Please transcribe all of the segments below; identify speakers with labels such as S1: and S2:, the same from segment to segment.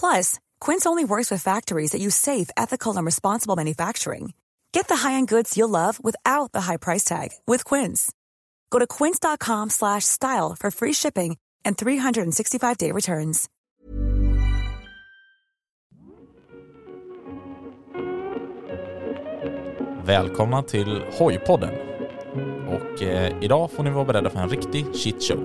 S1: Plus, Quince only works with factories that use safe, ethical, and responsible manufacturing. Get the high-end goods you'll love without the high price tag with Quince. Go to quince.com slash style for free shipping and 365-day returns.
S2: Välkomna till Hojpodden. Och eh, idag får ni vara beredda för en riktig shitshow.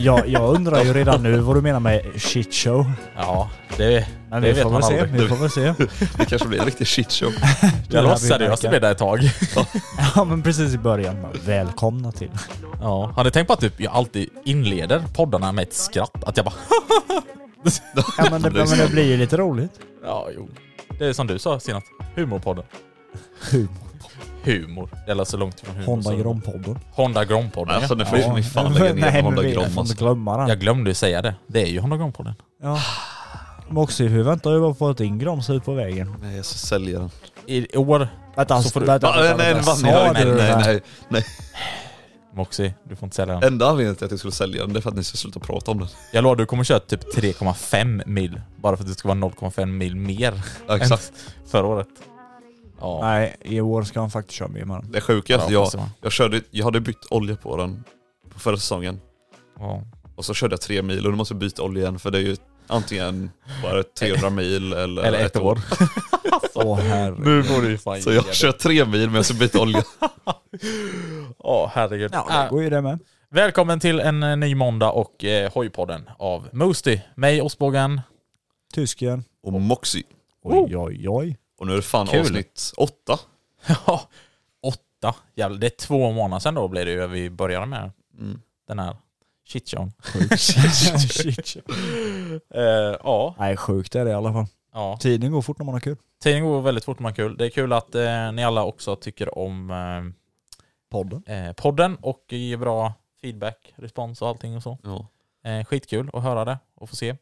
S3: Ja, jag undrar ju redan nu vad du menar med shit show.
S2: Ja, det,
S3: Men
S2: det
S3: vi
S2: vet
S3: får
S2: man
S3: väl se.
S2: aldrig.
S3: Vi får väl se.
S4: Det kanske blir en riktig shitshow.
S2: Jag
S3: lär vi
S2: låtsade jag
S3: märka.
S2: skulle där ett tag.
S3: Ja men precis i början. bara, Välkomna till.
S2: Ja. Har ni tänkt på att typ jag alltid inleder poddarna med ett skratt? Att jag bara
S3: Ja men det, men det blir ju lite roligt.
S2: Ja, jo. Det är som du sa senast. Humorpodden.
S3: Humor.
S2: Humor. Det är så långt ifrån humor.
S3: Honda
S2: som-
S3: Grom-podden.
S2: Honda Grompodden,
S4: Alltså
S2: ja.
S4: nu får ni fan lägga ner
S3: men
S4: Honda
S3: vi-
S4: Grom
S3: Jag får inte
S4: alltså.
S3: glömma den.
S2: Jag glömde ju säga det. Det är ju Honda Grompodden.
S3: Ja. Moxie, väntar ju bara på att Ingram ser ut på vägen.
S4: Nej jag ska sälja den.
S2: I år,
S3: Vänta,
S2: Så får du-
S3: vänta,
S4: Ah,
S3: vänta,
S4: nej, nej,
S3: vänta.
S4: vann
S3: Sa
S4: jag.
S3: du
S4: nej,
S3: det
S4: nej,
S3: här?
S4: nej, nej.
S2: Moxie, du får inte sälja den.
S4: Enda anledningen till att jag skulle sälja den det är för att ni ska sluta prata om den.
S2: Jag lovar, du kommer köra typ 3,5 mil. Bara för att det ska vara 0,5 mil mer
S4: Ja, exakt.
S2: än förra året. Ja.
S3: Nej, i år ska han faktiskt köra mer med den.
S4: Det sjuka är att
S2: Ja,
S4: jag,
S2: fast det var-
S4: jag, körde, jag hade bytt olja på den på förra säsongen.
S2: ja.
S4: Och så körde jag tre mil och nu måste jag byta olja igen för det är ju antingen bara 300 mil eller,
S2: Eller ett år.
S4: Alltså.
S3: Åh herregud.
S2: Nu får du ju fan
S4: Så jag kör tre mil men jag ska byta olja.
S2: Åh herregud.
S3: Ja, det
S2: Äh,
S3: går ju det med.
S2: välkommen till en eh, ny måndag och eh, Hojpodden av Moosty. Mig, Ostbågen.
S3: Tysken.
S4: Och Moxie.
S3: Oj, oj, oj.
S4: Och nu är det fan
S2: Kul.
S4: avsnitt åtta.
S2: Ja, åtta. Jävlar, det är två månader sedan då blir det ju vi började med
S4: Mm.
S2: den här shitshowen.
S3: Shit, shit.
S2: Eh, ja,
S3: Nej, sjukt är det i alla fall.
S2: ja.
S3: Tiden går fort när man har kul.
S2: Tiden går väldigt fort, man har kul. Det är kul att eh, ni alla också tycker om
S3: Podden.
S2: eh, eh, podden och ger bra feedback, respons och allting och så.
S4: Ja.
S2: Eh, skitkul att höra det och få se.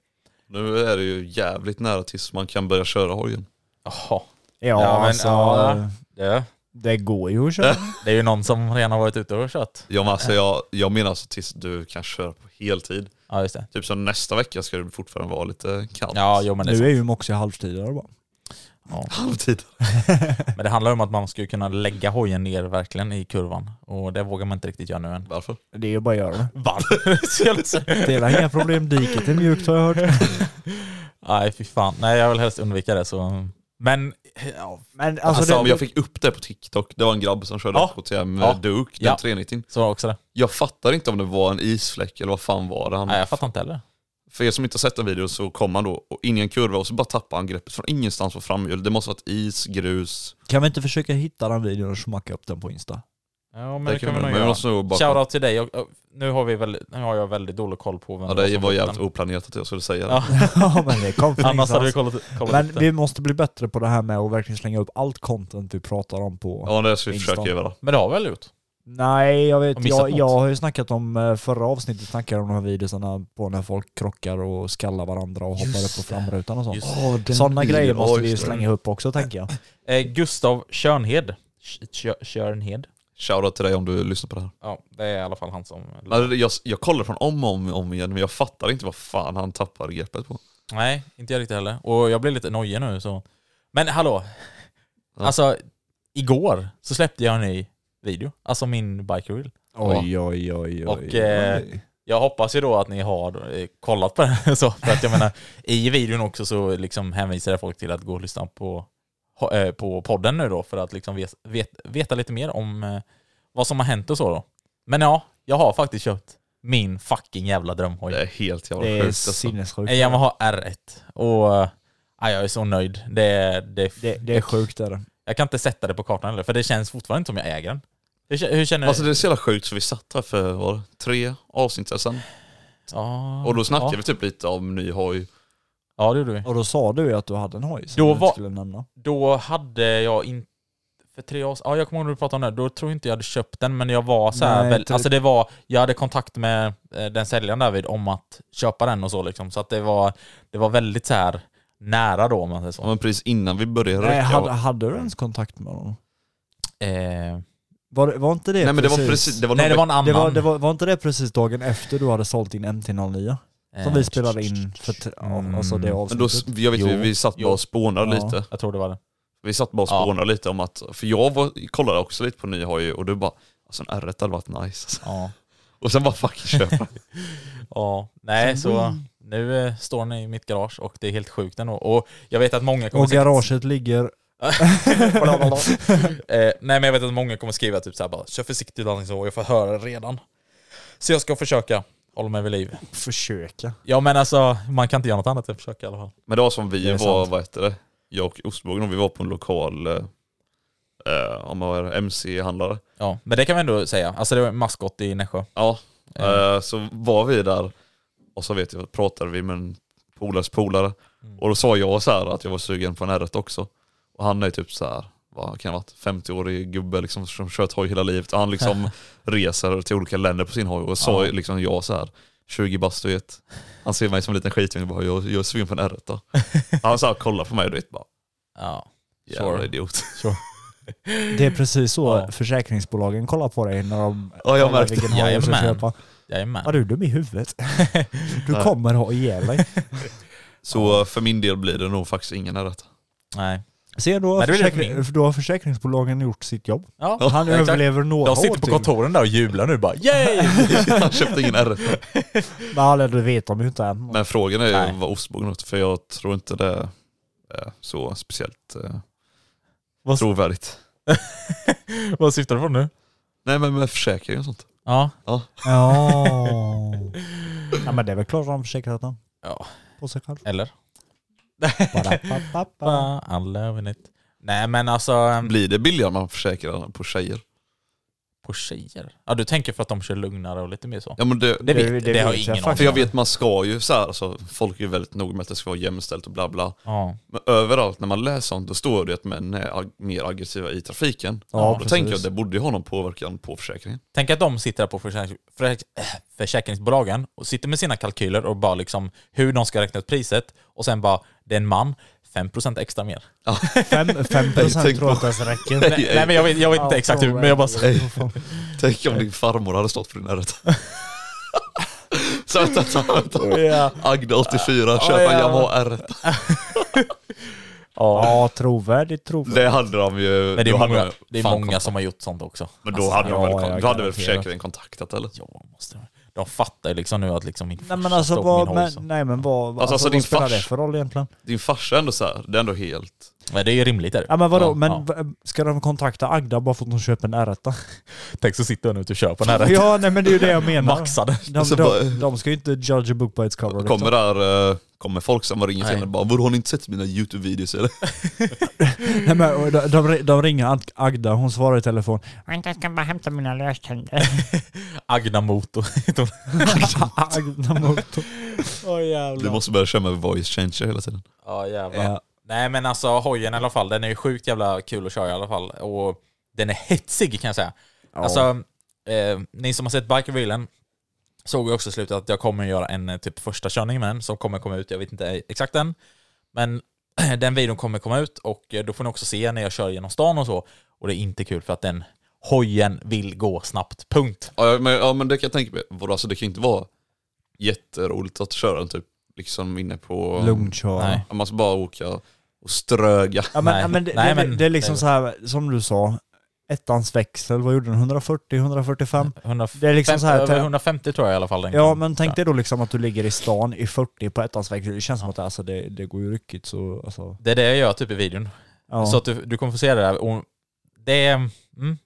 S4: Nu är det ju jävligt nära tills man kan börja köra hojen.
S2: Jaha.
S3: Ja,
S2: Ja, men,
S3: alltså.
S2: ja. Ja.
S3: Det går ju att köra.
S2: Det är ju någon som redan har varit ute och kört.
S4: Jag, alltså, jag, jag menar alltså tills du kan köra på heltid.
S2: Ja, just det.
S4: Typ som nästa vecka ska det fortfarande vara lite kallt.
S2: Ja, jo, men det är,
S3: nu
S2: sant.
S3: är ju Moxie halvtidare bara.
S2: ja.
S4: Halvtid.
S2: Men det handlar om att man skulle kunna lägga hojen ner verkligen i kurvan. Och det vågar man inte riktigt göra nu än.
S4: Varför?
S3: Det är ju bara att göra det.
S2: Varför? Så jävla så-
S3: Det är inga problem, diket är mjukt har jag hört.
S2: Nej fy fan. Nej jag vill helst undvika det så. Men ja,
S3: Men
S4: Alltså,
S3: alltså, det,
S4: jag fick upp det på TikTok, det var en grabb som körde
S2: Ja.
S4: KTM
S2: Ja.
S4: ja. eh, Duke, den
S2: Ja.
S4: 390.
S2: så var också det.
S4: Jag fattar inte om det var en isfläck eller vad fan var det. Han,
S2: Nej jag fattar inte heller.
S4: För er som inte har sett den videon så kom han då och in i en kurva och så bara tappade han greppet från ingenstans på framhjul. Det måste varit is, grus.
S3: Kan vi inte försöka hitta den videon och smacka upp den på Insta?
S2: Ja men det, kan vi nog
S4: men vi
S2: göra.
S4: måste nog bara...
S2: Shoutout till dig. Och, och, nu, har vi väldigt, nu har jag väldigt dålig koll på vem
S4: Ja,
S2: som
S4: det var
S2: fick
S4: jävligt
S2: den.
S4: oplanerat att jag skulle säga det.
S2: Ja,
S3: ja men det kom från
S2: annars hade vi
S3: ingenstans.
S2: kollat, kollat
S3: Men
S2: upp det.
S3: vi måste bli bättre på det här med att verkligen slänga upp allt content vi pratar om på...
S4: Ja, det ska vi
S3: Instant.
S4: försöka göra.
S2: Men det har vi väl gjort?
S3: Nej, jag
S2: Har
S3: vet.
S2: missat
S3: Jag,
S2: något?
S3: jag har ju snackat om eh, förra avsnittet, snackade om de här videorna på när folk krockar och skallar varandra och hoppar upp på framrutan och sånt.
S2: Just
S4: Åh, den
S3: Sådana
S4: videon.
S3: grejer måste
S4: Oj,
S3: vi ju
S4: sorry.
S3: slänga upp också tänker jag.
S2: Eh, Gustav Körnhed. Kö- Kö- Körnhed.
S4: Shoutout till dig om du lyssnar på det här.
S2: Ja, det är i alla fall han som...
S4: Nej, det- Alltså, Jag, jag kollar från om och om, om igen men jag fattar inte vad fan han tappar greppet på.
S2: Nej, inte jag riktigt heller. Och jag blir lite nojig nu så. Men hallå!
S4: Ja.
S2: Alltså, igår så släppte jag en ny video. Alltså min bike reel.
S3: Oj, oj, oj,
S2: Och eh, jag hoppas ju då att ni har eh, kollat på den. Så, för att jag menar, i videon också så liksom hänvisar jag folk till att gå och lyssna på, ho- eh, på podden nu då för att liksom vet, vet, veta lite mer om eh, vad som har hänt och så då. Men ja, jag har faktiskt köpt min fucking jävla drömhoj.
S4: Det är helt jävla
S3: Det är
S4: sjukt alltså.
S3: sinnessjukt.
S2: En Yamaha R1. Och eh, ja, jag är så nöjd. Det, det,
S3: Det, det är sjukt är det.
S2: Jag kan inte sätta det på kartan heller för det känns fortfarande inte som jag äger den. Hur, kä- hur känner
S4: Alltså
S2: du?
S4: det är så jävla sjukt så vi satt här för vad, var det, tre avsnitt sen
S2: Ja,
S4: och då snackade
S2: ja.
S4: vi typ lite om ny hoj.
S2: Ja, det gjorde vi.
S3: Och då sa du ju att du hade en hoj som
S2: Då
S3: du inte
S2: var-
S3: skulle nämna.
S2: Då hade jag inte... För tre år Ja, jag kommer ihåg när du pratade om det. Då tror jag inte jag hade köpt den, men jag var så här,
S3: Nej,
S2: väl,
S3: inte-
S2: Alltså det var... Jag hade kontakt med eh, den säljaren därvid om att köpa den och så liksom. Så att det var, det var väldigt så här nära då om man säger
S4: Ja,
S2: så.
S4: men precis innan vi började
S3: Nej,
S4: räcka.
S3: hade,
S4: och-
S3: hade du ens kontakt med honom?
S2: Eh,
S3: Var, det- var inte det
S4: Nej men det var
S3: precis...
S4: precis, det var
S2: nej, det
S4: någon
S2: var en annan.
S3: Mm. Det var, det var, var inte det precis dagen efter du hade sålt din MT-09? Som
S2: Eh,
S3: vi spelade in för t- ja, alltså det
S4: Men då,
S3: avsnittet.
S4: jag vet
S2: Jo,
S4: vi, vi satt
S2: jo.
S4: bara och spånade
S3: Ja.
S4: lite.
S2: Jag tror det var det.
S4: Vi satt bara och
S2: Ja.
S4: spånade lite om att, för jag var, kollade också lite på ny hoj och du bara Alltså en R1 hade varit nice. Alltså.
S2: Ja.
S4: Och sen bara fucking köpa.
S2: Ja, nej så
S3: Mm.
S2: nu eh, står ni i mitt garage och det är helt sjukt ändå. Och jag vet att många kommer
S3: och
S2: säkert-
S3: garaget ligger...
S2: Blablabla. eh, nej men jag vet att många kommer skriva typ såhär bara, kör försiktigt Danny så, jag får höra det redan. Så jag ska försöka hålla mig vid liv.
S3: Försöka.
S2: Ja men alltså, man kan inte göra något annat än att försöka i alla fall.
S4: Men det var som vi
S3: Det är
S4: var,
S3: sant.
S4: vad heter det? Jag och ostbågen och vi var på en lokal eh, eh, om man var MC-handlare.
S2: Ja, men det kan vi ändå säga. Alltså det var en maskot i Nässjö.
S4: Ja,
S2: Eh,
S4: eh, så var vi där och så vet jag, pratade vi med en polares polare
S3: Mm.
S4: och då sa jag så här att jag var sugen på en R1 också. Och han är typ så här, vad kan han ha varit, 50-årig gubbe liksom som kört hoj hela livet och han liksom reser till olika länder på sin hoj och sa
S2: Ja.
S4: liksom jag så här 20 bast du vet. Han ser mig som en liten skitunge och bara jag, jag är sugen på en R1 då. Han så här kollar på mig du vet bara
S2: Ja.
S4: jävla
S2: Sure.
S4: idiot.
S3: Det är precis så
S2: Ja.
S3: försäkringsbolagen kollar på dig när de
S4: Ja jag
S3: kollar
S4: märkte
S3: vilken hoj du ska
S2: Jajamän.
S3: köpa.
S2: Jajamän.
S3: Var du dum i huvudet? Du
S4: Ja.
S3: kommer ha ihjäl dig.
S4: Så för min del blir det nog faktiskt ingen R1.
S2: Nej.
S3: Se då har,
S2: Men det är väl
S3: försäkring,
S2: min.
S3: då har försäkringsbolagen gjort sitt jobb.
S2: Ja,
S3: Han
S2: exakt.
S3: överlever några
S2: De sitter
S3: år
S2: på
S3: till.
S2: kontoren där och jublar nu bara yay!
S4: Han köpte ingen R1. då.
S3: Ja, det vet de ju inte än.
S4: Men frågan är ju
S2: Nej.
S4: vad ostbågen åt, för jag tror inte det är så speciellt eh,
S2: Vad-
S4: trovärdigt.
S2: Vad syftar du på nu?
S4: Nej men med försäkring och sånt.
S2: Ja.
S3: Ja. ja, men det är väl klart de försäkrat den.
S2: Ja.
S3: På sig själv.
S2: Eller?
S3: Ba-da-ba-ba-ba.
S2: I'm loving it. Nej men alltså...
S4: Blir det billigare om man försäkrar på tjejer?
S2: På tjejer? Ja du tänker för att de kör lugnare och lite mer så?
S4: Ja men det,
S2: Det, vet,
S3: Det-
S2: det,
S3: det
S2: har jag
S3: vet jag
S2: ingen aning
S3: faktiskt.
S4: för jag
S2: om.
S4: vet man ska ju så här, alltså, folk är ju väldigt noga med att det ska vara jämställt och bla bla.
S2: Ja.
S4: Men överallt när man läser sånt då står det ju att män är ag- mer aggressiva i trafiken.
S3: Ja,
S4: då
S3: precis.
S4: tänker jag att det borde ju ha någon påverkan på försäkringen.
S2: Tänk att de sitter där på försäkrings, försäk, äh, försäkringsbolagen och sitter med sina kalkyler och bara liksom hur de ska räkna ut priset och sen bara det är en man, 5% extra mer.
S3: Fem, fem
S4: tänk
S3: procent tror jag inte
S4: på-
S3: ens räcker.
S2: Nej, nej men jag vet, jag vet inte exakt hur, men jag bara...
S4: Tänk om din farmor hade stått för din rätt. så vänta, vänta, vänta.
S2: Ja,
S4: Agda 84, köpa
S2: ja.
S4: en Yamaha R1.
S3: Ja, trovärdigt, trovärdigt.
S4: Det hade de ju.
S2: men det
S4: då
S2: är
S4: hade
S2: många,
S4: de
S2: det är
S4: fan
S2: många
S4: kontakt.
S2: som har gjort sånt också.
S4: Men då
S2: Alltså,
S4: hade de
S3: ja,
S4: väl,
S3: jag
S4: kon- då hade väl
S3: garanterar.
S4: försäkringen kontaktat eller?
S2: Ja, måste de. De fattar ju liksom nu att liksom min
S3: Nej men
S2: farsa
S3: alltså
S2: står på
S3: vad,
S2: min hals och-
S3: men, nej, men vad, alltså,
S4: alltså,
S3: vad
S4: din
S3: spelar det
S4: fars-
S3: för roll egentligen?
S4: Din farsa är ändå så här, det är ändå helt...
S2: Nej, det är ju rimligt är det.
S3: Ja men vadå,
S2: Ja,
S3: men
S2: ja.
S3: v- ska de kontakta Agda bara för att hon köper en R1?
S2: Tänk så sitter jag nu och kör på den här rätt
S3: Ja nej men det är ju det jag menar.
S2: maxade.
S3: De,
S4: Så
S3: de,
S4: bara-
S3: de, ska ju inte judge a book by its cover. liksom.
S4: Kommer där, eh, kommer folk som ringer till
S2: Nej.
S4: henne och bara Vadå har ni inte sett mina YouTube-videos eller?
S3: Nej, men, och de, de, de ringer Ag- Agda, hon svarar i telefon.
S5: Vänta, jag ska bara hämta mina löständer.
S2: Agna motor.
S3: Agda motor.
S2: Åh jävlar.
S4: Du måste börja köra med voice changer hela tiden.
S2: Ja jävlar.
S3: Ja.
S2: Nej men alltså hojen i alla fall, den är ju sjukt jävla kul att köra i alla fall. Och den är hetsig kan jag säga. Alltså eh, ni som har sett Bikervillen såg ju också i slutet att jag kommer göra en eh, typ första körning med den som kommer komma ut, jag vet inte exakt än. Men den videon kommer komma ut och eh, då får ni också se när jag kör genom stan och så. Och det är inte kul för att den hojen vill gå snabbt, punkt.
S4: Ja men, ja men det kan jag tänka mig. Vadå, Alltså, det kan ju inte vara jätteroligt att köra den typ liksom inne på...
S3: Lugnkör.
S2: Nej.
S4: Ja, Man ska bara åka och ströga.
S3: Ja, men,
S2: Nej.
S3: ja, men, det,
S2: Nej,
S3: det,
S2: men-
S3: det är liksom så här som du sa, ettans växel, vad gjorde den? 140, 145?
S2: 150,
S3: Det är liksom så här-
S2: över 150 tror jag i alla
S4: oh
S2: fall. den
S3: Ja
S2: kan-
S3: men tänk dig då liksom att du ligger i stan i 40 på ettans växel, det känns som att alltså, det, det går ju ryckigt så alltså,
S2: Det är det jag gör typ i videon.
S3: ja.
S2: Så att du, du kommer få se det där. Och det, är, mm,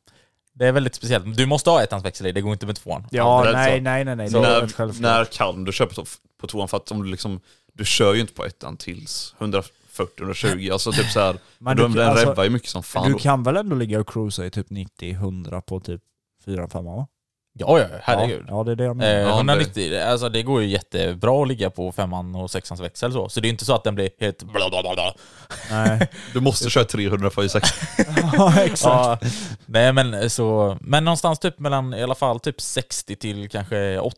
S2: det är väldigt speciellt. Du måste ha ettans växel i, det går inte med tvåan.
S3: Ja,
S4: Ja, det är
S3: nej,
S4: så.
S3: nej, nej, nej.
S4: Så
S3: det är ett
S4: när,
S3: självklart.
S4: när kan du köpa på, på tvåan? För att om du liksom, du kör ju inte på ettan tills 140-120. Alltså typ såhär,
S3: Men
S4: den
S3: du,
S4: den
S3: alltså,
S4: revvar ju mycket som fan.
S3: du
S4: då.
S3: kan väl ändå ligga och cruisa i typ 90-100 på typ 4-5 va?
S2: Ja, ja, herregud.
S3: Ja, ja, det är det jag menar.
S2: Eh,
S4: Ja,
S2: 190, alltså det går ju jättebra att ligga på femman och sexans växel så. Så det är inte så att den blir helt bla bla bla bla.
S3: Nej.
S4: Du måste köra 346.
S3: ja, exakt.
S2: Ja, nej men så, men någonstans typ mellan i alla fall typ 60 till kanske 80,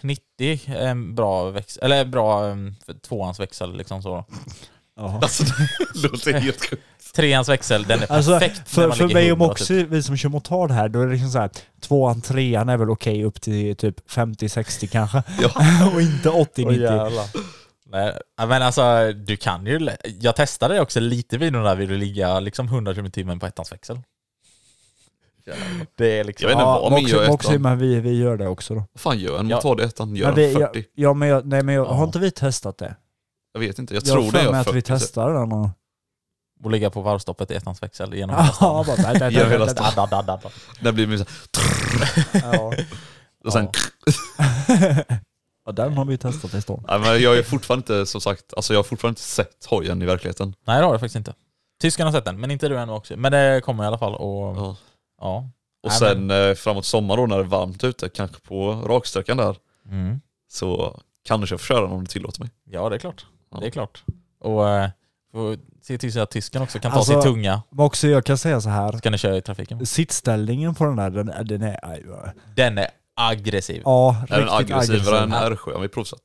S2: 90 är en bra växel, eller bra em, för tvåans växel liksom så.
S3: Ja.
S4: alltså det låter helt sjukt.
S2: Treans växel, den är
S3: Alltså,
S2: perfekt när
S3: för,
S2: man
S3: för
S2: ligger typ. i
S3: mig och
S2: 100
S3: Moxie, vi som kör motard här, då är det liksom så här, tvåan, trean är väl okej upp till typ 50-60 kanske. och inte 80-90.
S2: Nej, men alltså du kan ju, lä- jag testade det också lite vid den där vid att ligga liksom 100 km timmen på ettans växel. Det är liksom,
S4: Jag vet inte vad min gör i
S3: Moxie, Moxie,
S4: ettan.
S3: men vi, vi gör det också då.
S4: Vad fan gör en
S2: Ja.
S4: motard i ettan? Gör
S3: Men
S4: den
S3: vi,
S4: 40?
S3: jag, ja, men jag, nej men jag,
S2: Ja.
S3: har inte vi testat det?
S4: Jag vet inte, jag,
S3: har
S4: tror
S3: för mig
S4: det gör
S3: att vi
S2: typ.
S4: 40.
S3: testade den och...
S2: att ligga på varvstoppet i ettans växel genom hela
S3: Ja,
S2: stan.
S3: bara, nej, nej,
S4: Gör
S3: nej,
S4: hela
S3: nej,
S2: Da, da, da, da, da.
S4: Där blir det så här,
S3: nej. Ja.
S4: och sen,
S3: ja, den har vi testat i stan.
S4: nej, men jag är fortfarande inte, som sagt, alltså jag har fortfarande inte sett hojen i verkligheten.
S2: Nej det har jag faktiskt inte. Tyskarna har sett den, men inte du än också. Men det kommer i alla fall och ja.
S4: Ja. Och sen eh, framåt sommar då när det är varmt ute, kanske på raksträckan där,
S2: Mm.
S4: så kanske jag får köra den om du tillåter mig.
S2: Ja det är klart.
S4: Ja.
S2: Det är klart. Och eh, får se till så att tysken också kan ta
S3: Alltså-
S2: sin tunga.
S3: Moxie, jag kan säga så här.
S2: Ska ni köra i trafiken?
S3: Sittställningen på den där, den, är- den är... aj, ja.
S2: Den är aggressiv.
S3: Ja,
S4: Är den
S3: riktigt aggressiv.
S4: aggressivare än R7? Har vi provsatt?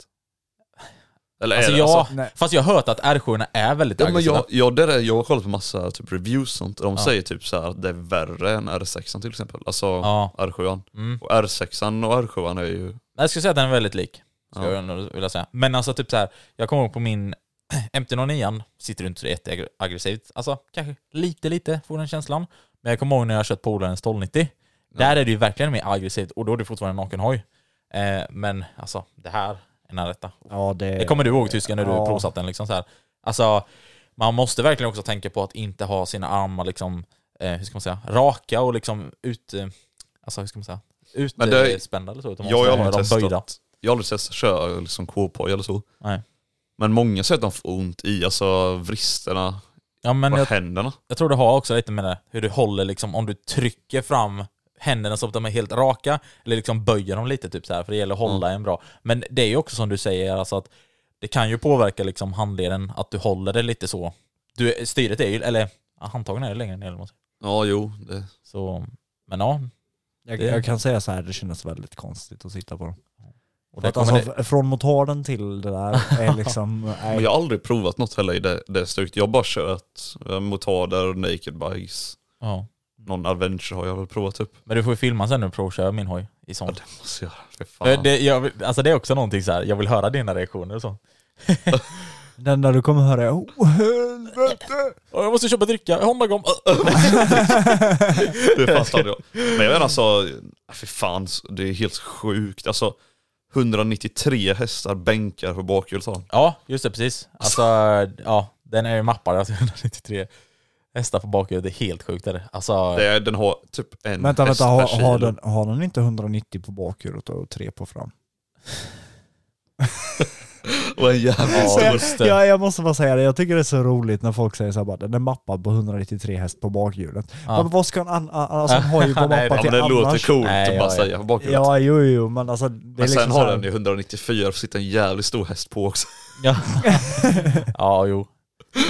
S4: Eller
S2: Alltså
S4: är det
S2: jag,
S4: alltså,
S3: Nej.
S2: fast jag har hört att R7 är väldigt
S4: Ja, men
S2: aggressiva.
S4: jag, ja, det där, jag har kollat på massa typ reviews och sånt, och de
S2: Ja.
S4: säger typ så här att det är värre än R6 till exempel, alltså
S2: Ja.
S4: R7.
S2: Mm.
S4: Och R6 och R7 är ju...
S2: Nej, Jag skulle säga att den är väldigt lik. Skulle
S4: Ja.
S2: jag nog vilja säga. Men alltså typ så här, jag kommer ihåg på min MT-09 sitter du inte så jätteaggressivt. Alltså kanske lite lite får den känslan. Men jag kommer ihåg när jag kört polarens 1290. Där är det ju verkligen mer aggressivt och då är det fortfarande en naken hoj. Eh, men alltså det här, en detta.
S3: Ja, det...
S2: Det kommer du ihåg tysken när du
S3: Ja.
S2: provsatt den liksom så här. Alltså man måste verkligen också tänka på att inte ha sina armar liksom, eh, hur ska man säga, raka och liksom ut, eh, alltså hur ska man säga,
S4: Men det-
S2: utspända eller så. Utan man
S4: Jag har ju
S2: måste ha
S4: aldrig
S2: dem
S4: testat.
S2: böjda.
S4: Jag har aldrig sett köra liksom K-poj eller så.
S2: Nej.
S4: Men många säger att de får ont i, alltså vristerna
S2: Ja, men
S4: och
S2: jag,
S4: händerna.
S2: jag tror det har också lite med det, hur du håller liksom, om du trycker fram händerna så att de är helt raka, eller liksom böjer dem lite typ så här, för det gäller att
S4: Mm.
S2: hålla en bra. Men det är ju också som du säger, alltså att det kan ju påverka liksom handleden, att du håller det lite så. Du, styret är ju, eller ja, handtagen är ju längre ner, eller vad man säger.
S4: Ja, jo. Det.
S2: så, men ja.
S3: Jag, jag kan säga så här, det kändes väldigt konstigt att sitta på den.
S2: Och
S3: För
S2: där
S3: att
S2: kommer
S3: alltså,
S2: det,
S3: f- Från motarden till det där är liksom... nej.
S4: Men jag har aldrig provat något heller i det, det stuket. Jag har bara kört eh, motarder, naked bikes,
S2: ja.
S4: någon adventure har jag väl provat upp.
S2: Men du får ju filma sen när du provkör min hoj i
S4: Ja
S2: sånt.
S4: det måste jag göra, för
S2: Eh,
S4: fan.
S2: Det, jag, vill- alltså det är också någonting så här. jag vill höra dina reaktioner och så.
S3: Den där du kommer höra är oh,
S2: Mm.
S3: helvete!
S2: "Åh, Jag måste köpa dricka, Honda-gom.
S4: Det fanns jag. Men jag menar alltså, för fan, det är helt sjukt. Alltså 193 hästar bänkar på bakhjulet har han.
S2: Ja, just det, precis. Alltså, ja, den är ju mappad, alltså 193 hästar på bakhjulet, det är helt sjukt är det. Alltså,
S4: Det är, den har typ en
S3: Vänta,
S4: häst
S3: vänta,
S4: per
S3: har, har,
S4: kilo.
S3: den, har den inte 190 på bakhjulet och 3 på fram?
S4: Och en jävla
S2: Ja,
S4: stor
S2: just det.
S3: Ja, jag måste bara säga det, jag tycker det är så roligt när folk säger så här, bara, den är mappad på 193 häst på bakhjulet.
S2: Ja.
S3: Men vad ska en annan, alltså en hoj vara
S2: Nej,
S3: mappad till
S4: Ja, men det låter
S3: annars?
S4: coolt
S2: Nej,
S4: att bara
S2: ja, ja.
S4: säga på bakhjulet.
S3: Ja, jo, jo, men alltså... Det
S4: Men sen har den
S3: ju...
S4: ju 194 och sitter en jävligt stor häst på också.
S2: ja. ja, jo.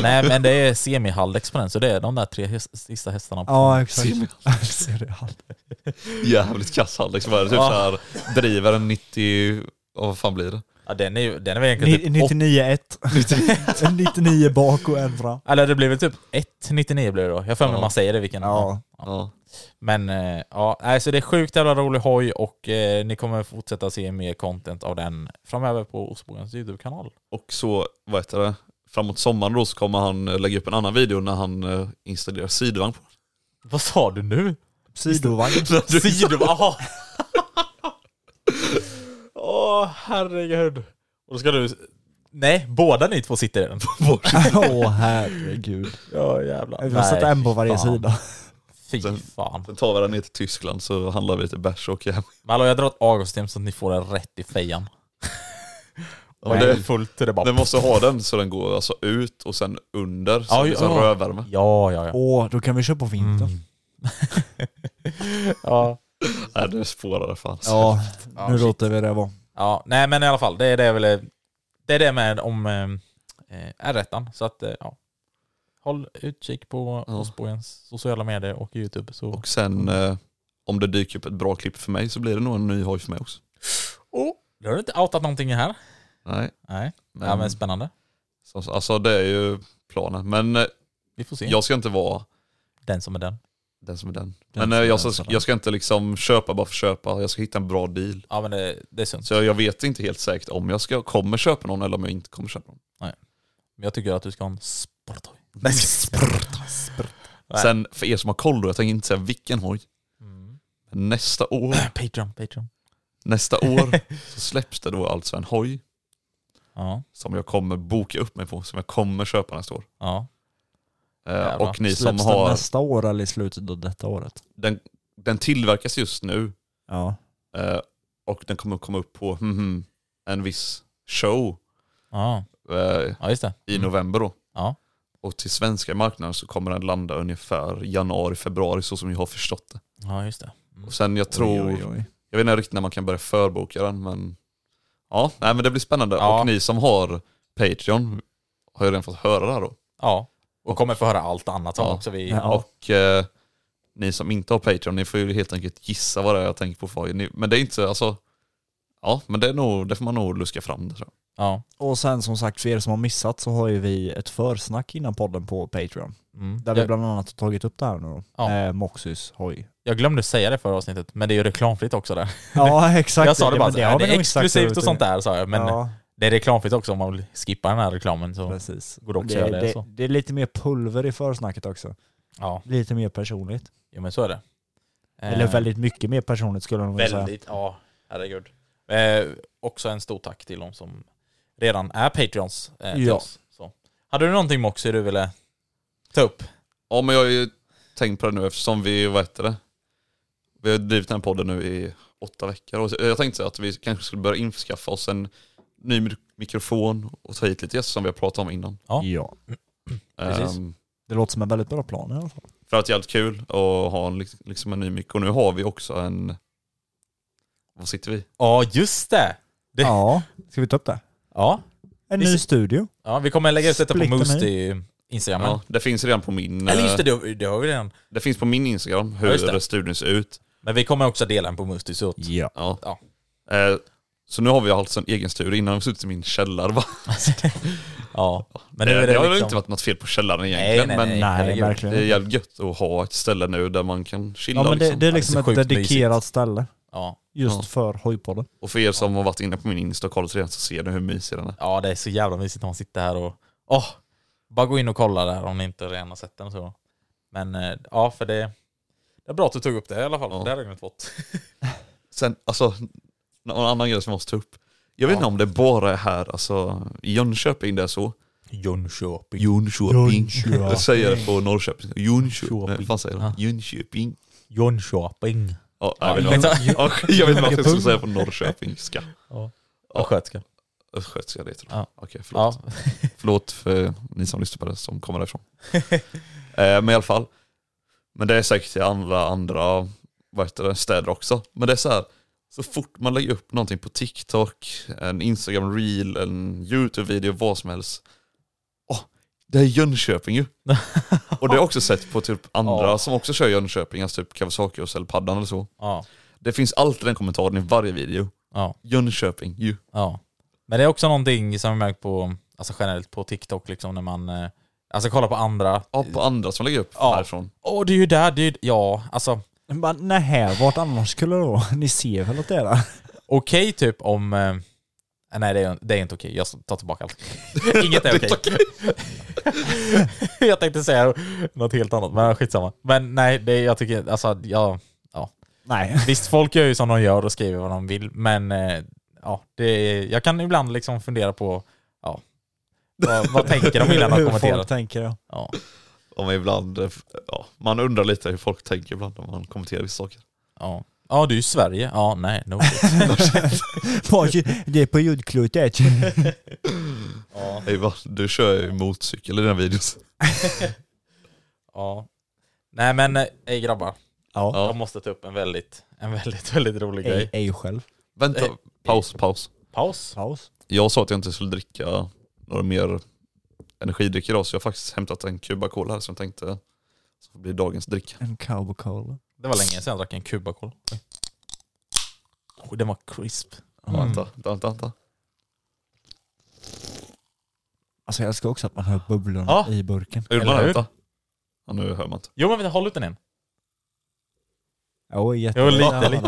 S2: Nej men det är semihaldex på den, så det är de där tre häst, sista hästarna. På
S3: Ja,
S2: den.
S3: exakt. Cereal.
S4: Jävligt kass Alex. Vad är det? Typ
S2: Ja.
S4: såhär, driver en 90... Oh, vad fan blir det?
S2: ja, den är ju, den är väl egentligen
S3: Ni-
S2: typ 90...
S3: 99-1. 99 bak och en fram.
S2: Eller det blir väl typ 1,99 blir det då. Jag har för mig
S4: Ja.
S2: man säger det vilken.
S3: Ja.
S4: Ja.
S2: Men eh, ja, nej, så det är sjukt jävla rolig hoj och eh, ni kommer fortsätta se mer content av den framöver på Ostbågens YouTube-kanal.
S4: Och så, vad heter det? Framåt sommaren då så kommer han eh, lägga upp en annan video när han eh, installerar sidvagn på
S2: Vad sa du nu?
S3: Sidovagn.
S2: Sidor? Jaha! Åh, herregud. Och då ska du... Nej, båda ni två sitter i den.
S3: Åh herregud.
S2: Ja, jävlar.
S3: Vi har satt en på varje
S2: fan.
S3: sida.
S2: Fy fan.
S4: Sen tar vi den ner till Tyskland så handlar vi lite bärs och åker hem.
S2: Men hallå, jag drar åt Augustin så att ni får den rätt i fejan. Och
S4: det-
S2: det är fullt till det bara...
S4: Den måste ha den så den går alltså ut och sen under, så
S2: Ja,
S4: det är som
S2: ja.
S4: rödvärme.
S2: Ja, ja, ja.
S3: Åh, då kan vi köra på vintern.
S2: ja.
S4: Nej det spårar det fan.
S3: Ja,
S2: Ja,
S3: nu
S2: shit.
S3: låter vi det vara.
S2: Ja, nej men i alla fall, det är det jag ville... Det är det med om eh, R1. Så att, eh, ja. Håll utkik på
S4: Ja.
S2: Osbogens sociala medier och YouTube. Så...
S4: Och sen eh, om det dyker upp ett bra klipp för mig så blir det nog en ny hoj för mig också.
S2: Oh, då har du inte outat någonting här.
S4: Nej.
S2: Nej,
S4: Men,
S2: ja, men spännande.
S4: som- alltså det är ju planen. Men eh,
S2: Vi får se.
S4: jag ska inte vara
S2: Den som är den.
S4: den som är den.
S2: Den
S4: Men eh,
S2: som är
S4: jag,
S2: den
S4: ska,
S2: som är den.
S4: jag ska inte liksom köpa bara för att köpa, jag ska hitta en bra deal.
S2: Ja men det, det är sunt.
S4: Så jag, jag vet inte helt säkert om jag ska, kommer köpa någon eller om jag inte kommer köpa någon.
S2: Men jag tycker att du ska ha en sporthoj.
S4: Nej, Nej. Sen för er som har koll då, jag tänker inte säga vilken hoj.
S2: Mm.
S4: Men Nästa år,
S2: Patreon, Patreon.
S4: nästa år så släpps det då alltså en hoj
S2: Ja,
S4: som jag kommer boka upp mig på, som jag kommer köpa nästa år.
S2: ja.
S4: Eh,
S2: Jävlar.
S4: och ni som
S3: Släpps den
S4: har,
S3: nästa år eller i slutet av detta året?
S4: den, den tillverkas just nu
S3: Ja.
S4: eh, och den kommer komma upp på mhm, en viss show
S2: Ja,
S4: eh,
S2: ja just det.
S4: i
S3: Mm.
S4: november då.
S2: Ja.
S4: Och till svenska marknaden så kommer den landa ungefär januari, februari så som jag har förstått det.
S2: Ja, just det.
S4: Och sen jag tror,
S3: Mm. Oj, oj, oj.
S4: jag vet inte riktigt när man kan börja förboka den men ja, nej men det blir spännande.
S2: Ja.
S4: Och ni som har Patreon har ju redan fått höra det här då.
S2: Ja. Och kommer få höra allt annat som
S4: Ja.
S2: också vi...
S3: Ja.
S4: Och eh, ni som inte har Patreon, ni får ju helt enkelt gissa vad det är jag tänker på. För. Ni, men det är inte så, alltså, ja men det, är nog, det får man nog luska fram det tror jag.
S2: Ja.
S3: Och sen som sagt, för er som har missat så har ju vi ett försnack innan podden på Patreon.
S2: Mm.
S3: Där vi
S2: Jag,
S3: bland annat har tagit upp det här nu då.
S2: Ja.
S3: Eh, Moxys hoj.
S2: jag glömde säga det förra avsnittet, men det är ju reklamfritt också där.
S3: Ja exakt.
S2: jag sa det bara,
S3: men
S2: det,
S3: har
S2: det,
S3: vi
S2: det är
S3: nog sagt
S2: exklusivt
S3: förut.
S2: och sånt där sa jag, men
S3: ja,
S2: det är reklamfritt också om man vill skippa den här reklamen. Så.
S3: precis.
S2: går det också att
S3: det,
S2: göra det,
S3: det,
S2: så.
S3: det är lite mer pulver i försnacket också.
S2: Ja,
S3: Lite mer personligt.
S2: jo, men så är det.
S3: Eller
S2: Eh,
S3: väldigt mycket mer personligt skulle jag nog vilja säga.
S2: Väldigt, ja. Herregud. Eh, också en stor tack till de som redan är Patreons eh, till
S3: Ja.
S2: oss. Så. Hade du någonting Moxie du ville ta upp?
S4: Ja men jag har ju tänkt på det nu eftersom vi, vad heter det? Vi har drivit den här podden nu i åtta veckor. Och så- jag tänkte säga att vi kanske skulle börja införskaffa oss en ny mik- mikrofon och ta hit lite gäster som vi har pratat om innan.
S2: Ja.
S3: Ja.
S2: Precis.
S4: Ehm,
S3: Det låter som en väldigt bra plan i alla fall.
S4: för att det är jävligt kul att ha en, lik- liksom en ny mikrofon. Och nu har vi också en, vad sitter vi?
S2: Ja, just det! Det-
S3: Ja, ska vi ta upp det?
S2: Ja.
S3: En
S2: Vi
S3: ny
S2: ser-
S3: studio.
S2: ja vi kommer lägga ut detta på
S3: Splitter
S2: Moose
S3: mig.
S2: i Instagram.
S4: Ja, det finns redan på min...
S2: Eller just
S4: eh,
S2: det, det, det har vi redan.
S4: Det finns på min Instagram
S2: Ja,
S4: hur
S2: just det.
S4: studion ser ut.
S2: Men vi kommer också dela den på Moose så att-
S3: Ja.
S4: Ja.
S2: Ja.
S4: Eh, så nu har vi alltså en egen studio. Innan har vi suttit i min källare. Va?
S2: ja. Men
S4: det,
S2: nu är det,
S4: har
S2: liksom...
S4: inte varit något fel på källaren
S2: Nej,
S4: egentligen.
S2: nej,
S4: men
S2: nej.
S3: Nej,
S2: herregud.
S4: det är
S3: verkligen.
S4: jävligt gött att ha ett ställe nu där man kan chilla.
S3: Ja men det,
S4: liksom.
S3: det är liksom
S2: Ja, det är så
S3: ett
S2: sjukt
S3: dedikerat
S2: mysigt.
S3: ställe
S2: Ja.
S3: just
S4: Ja.
S3: för hojpodden.
S4: Och för er som har varit inne på min Insta och kollat redan så ser ni hur mysig den är.
S2: ja, det är så jävla mysigt när man sitter här och... Åh! bara gå in och kolla där om ni inte redan har sett den. Så. Men eh, ja, för det... Det är bra att du tog upp det i alla fall.
S4: Ja.
S2: Det hade jag glömt bort.
S4: Sen, alltså, någon annan grej som jag måste ta upp. Jag vet
S2: Ja.
S4: inte om det bara är här, alltså i Jönköping det är så.
S2: Jönköping.
S4: Jönköping.
S3: Jönköping.
S4: Jag säger det på Norrköping. Jönköping. Nej,
S2: Jönköping.
S4: vad fan säger de?
S2: Ja.
S4: Jönköping.
S2: Jönköping.
S4: Ja,
S2: Ja,
S4: jag, vet
S2: men-
S4: inte, Ja, jag vet inte varför jag skulle säga på norrköpingska.
S2: Östgötska.
S4: Östgötska det heter det.
S2: Ja.
S4: Okej, förlåt.
S2: Ja.
S4: Förlåt för ni som lyssnar på det som kommer därifrån. eh, men i alla fall. Men det är säkert i andra, andra vad heter det, städer också. Men det är så här, så fort man lägger upp någonting på TikTok, en Instagram reel, en YouTube-video, vad som helst. Åh, det är Jönköping ju. och det har jag också sett på typ andra som också kör Jönköping, alltså typ Kawasaki och eller paddan eller så.
S2: Ja,
S4: Det finns alltid den kommentaren i varje video.
S2: ja,
S4: Jönköping ju.
S2: ja. Men det är också någonting som jag märkt på, alltså generellt på TikTok liksom när man, eh, alltså kollar på andra.
S4: Ja, på andra som lägger upp
S2: Ja.
S4: härifrån.
S2: Åh det är ju där, det är ju, ja alltså
S3: Bara, nej, vart annars skulle det vara? Ni ser väl att det är där?
S2: okej typ om... Eh, nej det är, det är inte okej, jag tar tillbaka allt. Inget är okej. jag tänkte säga något helt annat, men skitsamma. Men nej, det, jag tycker, alltså jag... Ja.
S3: Nej.
S2: Visst, folk gör ju som de gör och skriver vad de vill, men eh, ja, det, jag kan ibland liksom fundera på ja, vad, vad tänker de innan de
S3: Hur
S2: kommenterar?
S3: folk tänker ja.
S2: Ja.
S4: Om ibland, eh, f- ja, man undrar lite hur folk tänker ibland när man kommenterar vissa saker.
S2: Ja. ja, du är ju Sverige. Ja, nej, no.
S3: Folk, Det är på jordklotet.
S4: Hej, va? Du kör ju motorcykel i dina videos.
S2: ja. Nej men, eh, ej grabbar.
S3: Ja.
S2: Jag måste ta upp en väldigt, en väldigt, väldigt rolig
S3: Ej,
S2: grej.
S3: ej själv.
S4: Vänta, paus, paus.
S2: Paus.
S3: Paus.
S4: Jag sa att jag inte skulle dricka några mer energidrycker idag så jag har faktiskt hämtat en Cuba Cola här som jag tänkte så blir dagens dricka.
S3: En cowboycola.
S2: Det var länge sedan jag drack en Cubacola. Oh, den var crisp.
S4: Vänta, vänta, vänta.
S3: Alltså jag älskar också att man hör bubblorna
S2: Ja.
S3: i burken.
S4: Hur
S2: Eller
S4: man
S2: hur?
S4: vänta. Ja, nu hör man inte.
S2: Jo men vänta, håll ut den igen.
S3: Oh,
S2: Jo lite, lite.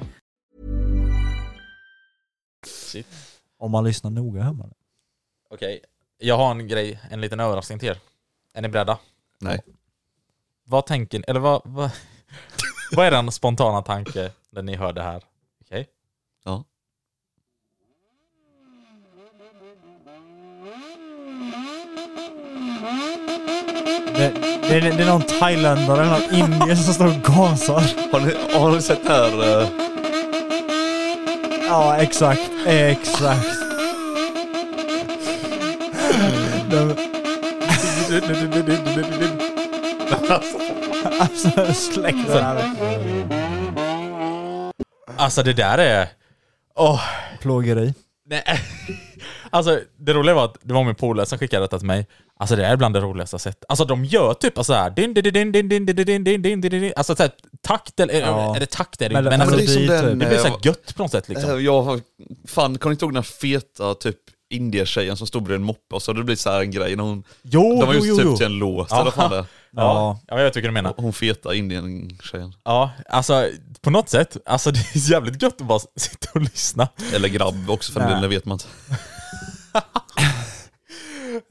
S2: Shit.
S3: Om man lyssnar noga hör man det.
S2: Okej, jag har en grej, en liten överraskning till er. Är ni beredda?
S4: Nej.
S2: Vad tänker ni, eller vad, vad, vad är den spontana tanke när ni hör det här? Okej?
S4: Ja.
S3: Det, det, det, det är någon thailändare eller någon indier som står och gasar.
S4: Har ni, har ni sett det här? eh,
S3: Ja, exakt. Exakt. De, alltså, släck det där.
S2: Alltså det där är... Åh,
S3: Plågeri.
S2: nej. Alltså det roliga var att det var min polare som skickade detta till mig. Alltså det är bland det roligaste jag sett. Alltså de gör typ så här. Din, din, din, din, din, din, din, din, din, din, din. Alltså såhär takt eller...
S3: Ja.
S2: Är det takt eller
S3: Men-
S2: inte? Men
S3: men
S2: alltså,
S3: det är
S2: det,
S3: som den,
S2: det blir såhär
S4: eh,
S2: gött på något sätt liksom.
S4: eh, Jag har, fan, kommer ni inte ihåg den här feta typ indietjejen som stod bredvid en moppe och så hade det blivit så här en grej när hon...
S2: Jo,
S4: de var
S2: jo,
S4: just
S2: jo,
S4: typ
S2: jo.
S4: till en låt eller vad fan det är.
S2: Ja, jag vet vilken du menar.
S4: Hon feta indien-tjejen.
S2: Ja, alltså på något sätt. Alltså det är jävligt gött att bara sitta och lyssna.
S4: Eller grabb också för den
S3: Nej.
S4: delen, det vet man inte.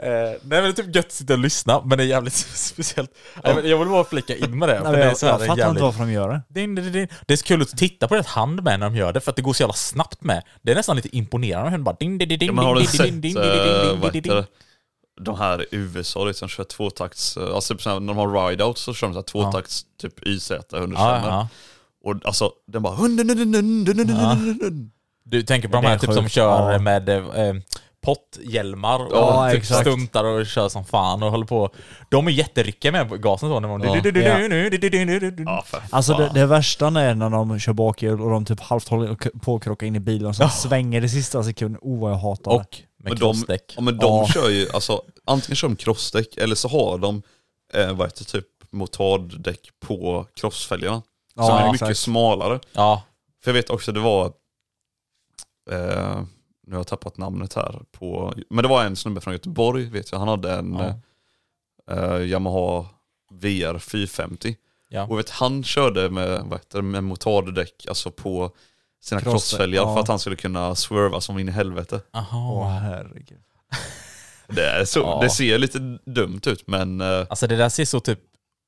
S3: Eh.
S2: Nej men det är typ gött att sitta och lyssna, men det är jävligt speciellt. Nej, men Jag vill bara flika in med det. för
S3: Nej,
S2: det
S3: jag,
S2: är så här
S3: jag
S2: en
S3: fattar inte
S2: jävligt-
S3: varför de gör det.
S2: Din, din, din. Det är så kul att titta på deras hand med när de gör det, för att det går så jävla snabbt med. Det är nästan lite imponerande. Hon bara... Din, din, din, din,
S4: Ja, men har du
S2: din,
S4: sett
S2: din, din, din,
S4: eh,
S2: din,
S4: vad
S2: din,
S4: heter det?
S2: din.
S4: de här i USA liksom kör tvåtakts, eh, alltså typ så här, när de har ride-out så kör de så här tvåtakts typ YZ 125
S2: Ja, ja.
S4: Och alltså den bara hundun, dun, dun, dun, dun, dun, dun.
S2: Du tänker på de
S3: Det är
S2: här typ som
S3: sjukt.
S2: kör
S3: Ja.
S2: med eh, potthjälmar och
S3: Ja,
S2: typ
S3: exakt.
S2: stuntar och kör som fan och håller på. De är jätteryckiga med gasen så när de...
S4: Ja.
S2: Ja.
S4: Ja, för
S3: Alltså det,
S4: fan.
S3: det värsta är när de kör bakhjul och de typ halvt håller k- på att krocka in i bilen och sen svänger i sista sekunden. Oh vad jag hatar det.
S2: Och
S4: Men
S2: med
S4: de,
S2: krossdäck.
S4: ja, men de
S3: Ja.
S4: kör ju, alltså antingen kör de crossdäck eller så har de, eh, vad heter det, typ motarddäck på crossfälgarna.
S3: Ja,
S4: som är mycket
S3: exakt.
S4: smalare.
S2: Ja.
S4: För jag vet också, det var eh, nu har jag tappat namnet här, på, men det var en snubbe från Göteborg vet jag, han hade en
S2: Ja.
S4: eh, Yamaha VR 450.
S2: Ja.
S4: Och vet, han körde med, vad heter det, med motardäck alltså på sina
S3: Cross-
S4: crossfälgar
S3: ja.
S4: för att han skulle kunna swerva som in i helvete.
S2: Aha.
S3: Åh herregud.
S4: Det, är så,
S2: Ja.
S4: det ser lite dumt ut men eh,
S2: Alltså det där ser så typ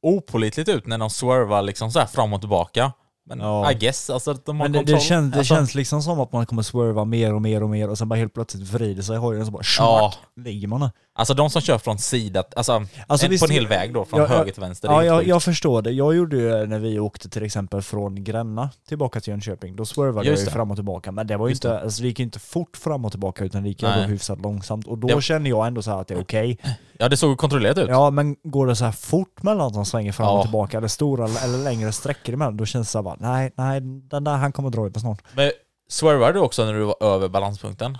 S2: opolitligt ut när de swervar liksom så här fram och tillbaka. Men
S3: Ja.
S2: I guess, alltså att de har
S3: Men det,
S2: kontroll.
S3: det, känns, det
S2: alltså,
S3: känns liksom som att man kommer swerva mer och mer och mer och sen bara helt plötsligt vrider sig hojen och så bara
S2: Ja.
S3: ja. ligger man där.
S2: alltså de som kör från sidan, alltså,
S3: Alltså,
S2: en,
S3: visst-
S2: på en hel väg då, från
S3: Ja, ja.
S2: höger till vänster. det är
S3: Ja,
S2: helt
S3: jag,
S2: sjukt.
S3: jag förstår det. Jag gjorde ju när vi åkte till exempel från Gränna tillbaka till Jönköping, då swervade jag
S2: Just
S3: ju
S2: det.
S3: fram och tillbaka. Men det var ju
S2: Just
S3: inte, alltså det gick ju inte fort fram och tillbaka utan det gick ju
S2: Nej.
S3: ändå hyfsat långsamt. Och då
S2: Det-
S3: kände jag ändå så här att det är okej.
S2: ja, det såg kontrollerat ut.
S3: Ja, men går det så här fort mellan att de svänger fram
S2: Ja.
S3: och tillbaka, eller stora eller längre sträckor emellan, då känns det så här bara, nej, nej, den där han kommer dra ut mig snart.
S2: Men swervade du också när du var över balanspunkten?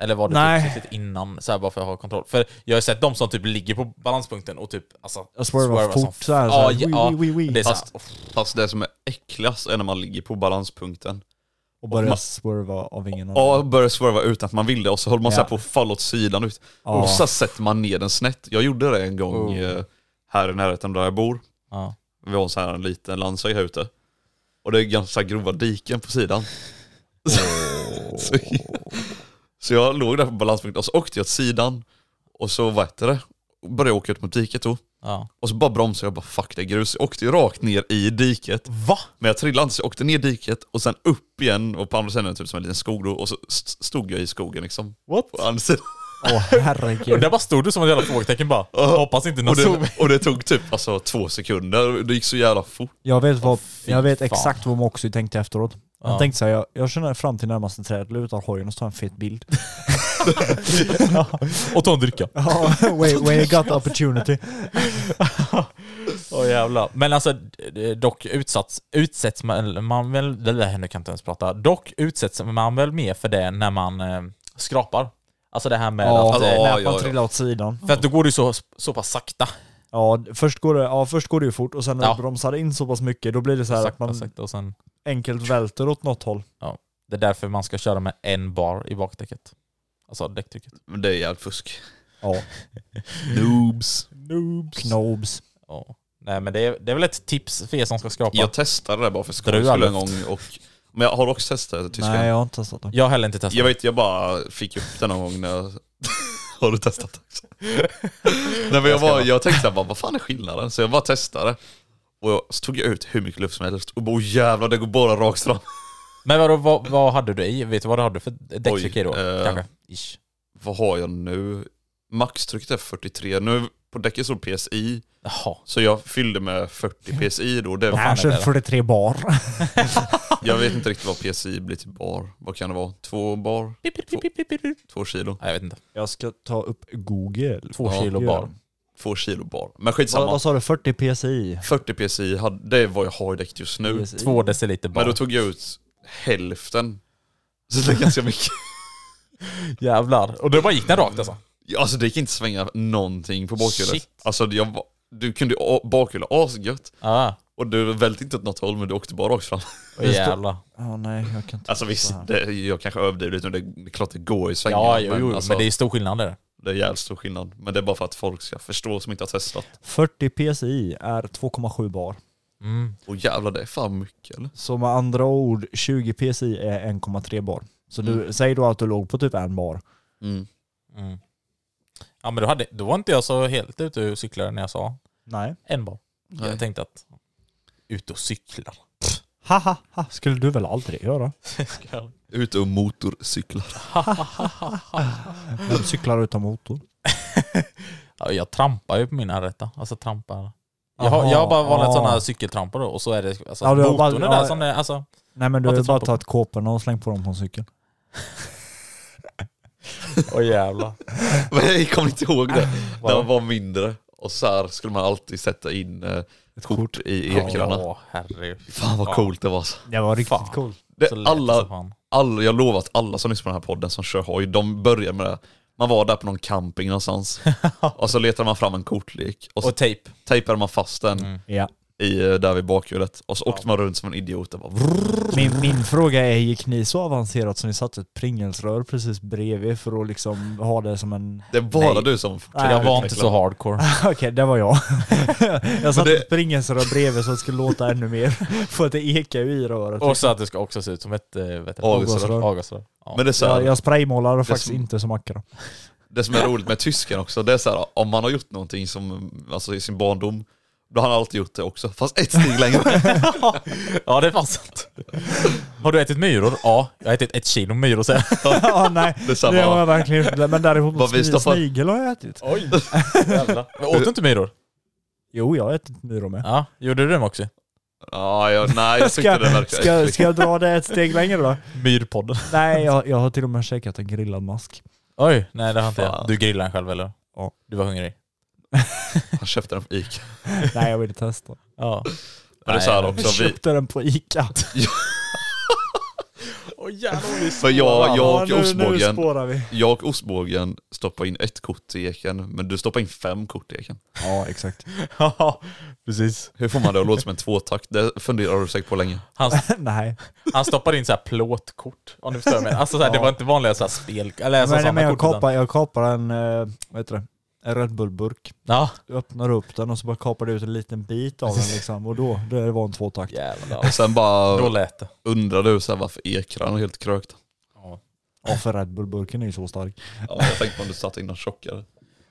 S2: Eller var det
S3: Nej.
S2: typ precis innan, så här bara för att ha kontroll? För jag har ju sett de som typ ligger på balanspunkten och typ alltså,
S3: Jag swervar
S2: som
S3: fort
S2: f-
S3: så här, så
S2: Ja,
S3: här,
S2: ja,
S3: wee,
S2: ja.
S3: wee, wee, wee.
S2: Det är så här,
S4: Fast- fast det som är äckligast är när man ligger på balanspunkten
S3: Och börjar
S4: Ma-
S3: swerva av ingen annan.
S4: Ja, börjar swerva utan att man vill det och så håller man
S3: Ja.
S4: så här på att falla åt sidan ut.
S3: Ja.
S4: Och så sätter man ner den snett. Jag gjorde det en gång
S2: Oh.
S4: eh, här i närheten där jag bor.
S2: Ja.
S4: Vi har så här en liten landsväg här ute. Och det är ganska grova diken på sidan. så, så jag låg där på balanspunkten och så åkte jag åt sidan. Och så vad heter det? Började jag åka ut mot diket då.
S2: ja.
S4: Och så bara bromsade jag och bara fuck det är grus. Jag åkte ju rakt ner i diket.
S2: Va?
S4: Men jag trillade inte så jag åkte ner diket och sen upp igen och på andra sidan är det typ som en liten skog då, och så st- stod jag i skogen liksom.
S2: What?
S4: På andra sidan.
S3: Åh
S2: Och
S3: herregud.
S2: där bara stod du som ett jävla frågetecken bara. Jag hoppas inte någon
S4: Och
S2: såg mig.
S4: det, och det tog typ alltså, två sekunder, det gick så jävla fort.
S3: Jag vet, vad, jag vet
S2: fan.
S3: exakt vad Moxie tänkte efteråt. Han
S2: Ja.
S3: tänkte såhär, jag, jag känner fram till närmaste träd, lutar hojen och så tar en fet bild.
S2: Och ta en dricka.
S3: Ja, when, when you got the opportunity.
S2: Åh jävlar. Men alltså, d- d- dock utsatts, utsätts man, man väl, det där nu kan jag inte ens prata, dock utsätts man väl mer för det när man eh, skrapar. Alltså det här med
S3: Ja,
S2: att...
S4: alltså,
S2: Eh,
S4: ja,
S3: när man
S4: ja.
S3: trillar åt sidan.
S2: för att då går det ju så, så pass sakta.
S3: Ja, först går det, ja, först går det ju fort och sen när
S2: Ja.
S3: du bromsar in så pass mycket, då blir det så här att
S2: Sakta,
S3: man
S2: sakta och sen...
S3: enkelt välter åt något håll.
S2: Det är därför man ska köra med en bar i bakdäcket. Alltså däcktrycket.
S4: Men det är jävligt fusk.
S3: Ja,
S4: Noobs.
S2: Noobs.
S3: knobs.
S2: Ja. Nej men det är, det är väl ett tips för er som ska skrapa.
S4: Jag testade det bara för
S2: Drar
S4: skojs
S2: du
S4: skull en
S2: all
S4: gång och... Men jag har också testat det i Tyskland.
S3: Nej, jag har inte testat det.
S2: Jag har heller inte testat.
S4: Jag vet, jag bara fick upp den någon gång när jag... Har du testat det också? Nej men jag, bara, jag tänkte såhär, bara, vad fan är skillnaden? Så jag bara testade. Och jag, så tog jag ut hur mycket luft som helst och bara "Åh, jävlar det går bara rakt fram.
S2: Men vadå, vad, vad hade du i? Vet du vad du hade för däcktryck i då?
S4: Oj, eh.
S2: Kanske? Ish.
S4: Vad har jag nu? Maxtrycket är 43. Nu på däcket står PSI.
S2: Jaha.
S4: Så jag fyllde med 40 PSI då. Det,
S2: fan är
S3: Kanske
S2: det då?
S3: 43 bar.
S4: jag vet inte riktigt vad PSI blir till bar. Vad kan det vara? Två bar? Två, två kilo?
S2: Nej, jag vet inte.
S3: Jag ska ta upp Google.
S2: Två
S4: Ja,
S2: kilo
S3: gör
S2: bar.
S3: det.
S4: Två kilo bar. Men
S3: Vad,
S4: skitsamma.
S3: vad sa du? 40 PSI?
S4: 40 PSI, hade, det är vad jag har i däcket just nu.
S3: PSI.
S2: Två deciliter bar.
S4: Men då tog jag ut hälften. Så det är ganska mycket.
S2: Jävlar. Och då bara gick den rakt alltså?
S4: Alltså det gick inte svänga någonting på bakhjulet.
S2: Shit.
S4: Alltså jag, var- du kunde ju a- bakhjula asgött.
S2: Ja.
S4: Och du välte inte åt något håll men du åkte bara rakt fram.
S2: Ah, jävlar.
S3: Ja, nej, jag kan inte.
S4: Alltså visst, det, jag kanske överdriver lite nu, det är klart det går i svängar.
S2: Ja, jo, jo,
S4: men, alltså,
S2: men det är stor skillnad där.
S4: det är jävligt stor skillnad. Men det är bara för att folk ska förstå som inte har testat.
S3: 40 PSI är 2,7 bar.
S2: Mm.
S4: Och jävlar det är fan mycket eller?
S3: Så med andra ord, 20 PSI är 1,3 bar. Så du, säg då att du låg på typ en bar.
S4: Mm.
S2: Mm. Ja, men då, hade, då var inte jag så helt ute och cyklade när jag sa
S3: Nej.
S2: en bar. Jag
S4: Nej.
S2: tänkte att ut och cykla.
S3: Haha, ha, Ah, skulle du väl aldrig göra?
S4: Ute och motorcyklar.
S3: Vem cyklar utan motor?
S2: ja, jag trampar ju på mina rätta. Alltså trampar. Jag har, jag har bara vanligt
S3: Aha,
S2: sådana
S3: ja.
S2: cykeltrampor då, och så är det alltså,
S3: Ja, du har bara-
S2: motorn är där
S3: ja.
S2: som det är. Alltså,
S3: Nej men du
S2: Att
S3: har
S2: det
S3: ju bara
S2: trampar på.
S3: tagit kåporna och slängt på dem på en cykel.
S2: åh jävlar.
S4: Men jag kommer inte ihåg det. När man var mindre. Och så här skulle man alltid sätta in eh, ett kort i ekrarna.
S2: Ja, herregud.
S4: Fan vad coolt det var alltså.
S3: Det var riktigt
S2: Fan.
S3: coolt.
S4: Det,
S2: Så lätt som
S4: alla,
S2: fan.
S4: alla, jag lovar att alla som lyssnar på den här podden som kör hoj, de börjar med det. Man var där på någon camping någonstans. och så letade man fram en kortlek. Och så
S2: Och tejp.
S4: tejpade man fast den.
S3: Ja.
S4: i, eh, där vid bakhjulet. Och så åkte man runt som en idiot. Och bara,
S3: Min, min fråga är, gick ni så avancerat som ni satte ett pringelsrör precis bredvid för att liksom ha det som en...
S4: det är bara
S3: Nej.
S4: du som
S3: Nej,
S2: Jag var inte så hardcore.
S3: Okej, det var jag. jag satte
S4: det-
S3: ett pringelsrör bredvid så att det skulle låta ännu mer. För att det typ. ekar ju i röret.
S2: Och så att det ska också se ut som ett eh, vet du,
S4: Avgasrör.
S2: avgasrör. Ja.
S4: Men det är så här,
S3: jag, jag spraymålade
S4: som-
S3: faktiskt inte som Akra.
S4: Det som är roligt med tysken också, det är så här, om man har gjort någonting som, alltså i sin barndom, då har han alltid gjort det också, fast ett steg längre.
S2: ja, det är fan sant. Har du ätit myror? Ja, jag har ätit ett kilo myror sen.
S3: Ja, nej.
S4: Detsamma,
S3: Det har
S4: va?
S3: jag verkligen inte. Men däremot
S4: Vad vi
S3: sni-
S4: stoppar-
S3: snigel har jag ätit.
S2: Oj, Men åt du inte myror?
S3: Jo, jag har ätit myror med.
S2: Ja, gjorde du det också?
S4: Ja, jag, nej jag tyckte
S3: Ska,
S4: det verkade
S3: ska,
S4: äckligt.
S3: ska jag dra det ett steg längre då?
S2: Myrpodden.
S3: Nej, jag, jag har till och med käkat en grillad mask.
S2: Oj, nej det har inte jag.
S4: Fan.
S2: Du grillade den själv eller?
S3: Ja.
S2: Du var hungrig?
S4: Han köpte den på Ica.
S3: Nej, jag ville testa.
S2: Ja.
S4: Men det är så här
S3: Jag
S4: också, vi,
S3: köpte den på Ica.
S2: Åh jävlar
S4: för jag, jag och
S3: nu, nu
S4: ostbågen,
S3: spårar vi.
S4: jag och ostbågen stoppade in ett kort i eken, men du stoppade in fem kort i eken.
S3: Ja, exakt.
S2: Ja, precis.
S4: Hur får man det att låta som en tvåtakt? Det funderar du säkert på länge.
S2: Han,
S3: Nej.
S2: han stoppade in så här plåtkort, om du förstår mig. Alltså så här, det var inte vanliga så här spel... Eller alltså,
S3: Men,
S2: sådana
S3: men jag,
S2: kort. utan-
S3: kapar, jag kapar en, eh, vad heter det, en Red Bull-burk.
S2: Ja,
S3: Du öppnar upp den och så bara kapar du ut en liten bit av den liksom. Och då, det var en tvåtakt.
S2: jävlar.
S4: Sen
S2: Då
S4: bara
S2: lät det.
S4: undrar du så här, varför ekrarna är helt krökt.
S3: Ja, för Red Bull-burken är ju så stark.
S4: Ja, jag tänkte på om du satt in någon tjockare.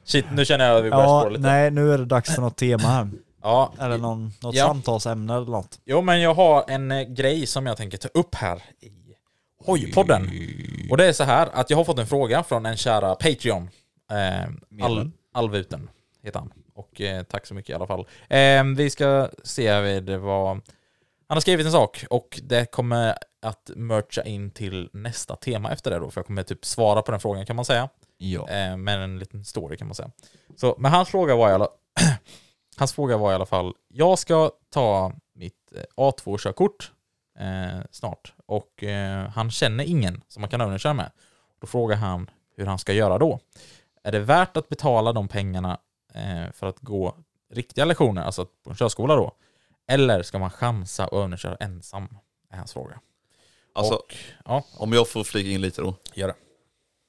S2: Shit, nu känner jag att vi börjar
S3: Ja,
S2: spåra lite.
S3: nej, nu är det dags för något tema här.
S2: Ja,
S3: Eller någon, något
S2: Ja.
S3: samtalsämne eller något.
S2: Jo, men jag har en eh, grej som jag tänker ta upp här i Hojpodden. Och det är så här att jag har fått en fråga från en kära Patreon. Eh, Al Alvuten heter han. Och eh, tack så mycket i alla fall. Eh, vi ska se här vid vad... Han har skrivit en sak och det kommer att mercha in till nästa tema efter det då. För jag kommer typ svara på den frågan kan man säga.
S3: Ja.
S2: Eh, med en liten story kan man säga. Så, men hans fråga var i alla, hans fråga var i alla fall, jag ska ta mitt eh, A2-körkort eh, snart och eh, han känner ingen som man kan övningsköra med. Då frågar han hur han ska göra då. Är det värt att betala de pengarna eh, för att gå riktiga lektioner, alltså att- på en körskola då? Eller ska man chansa och övningsköra ensam? Är hans fråga.
S4: Alltså,
S2: och, ja,
S4: om jag får flika in lite då.
S2: gör det.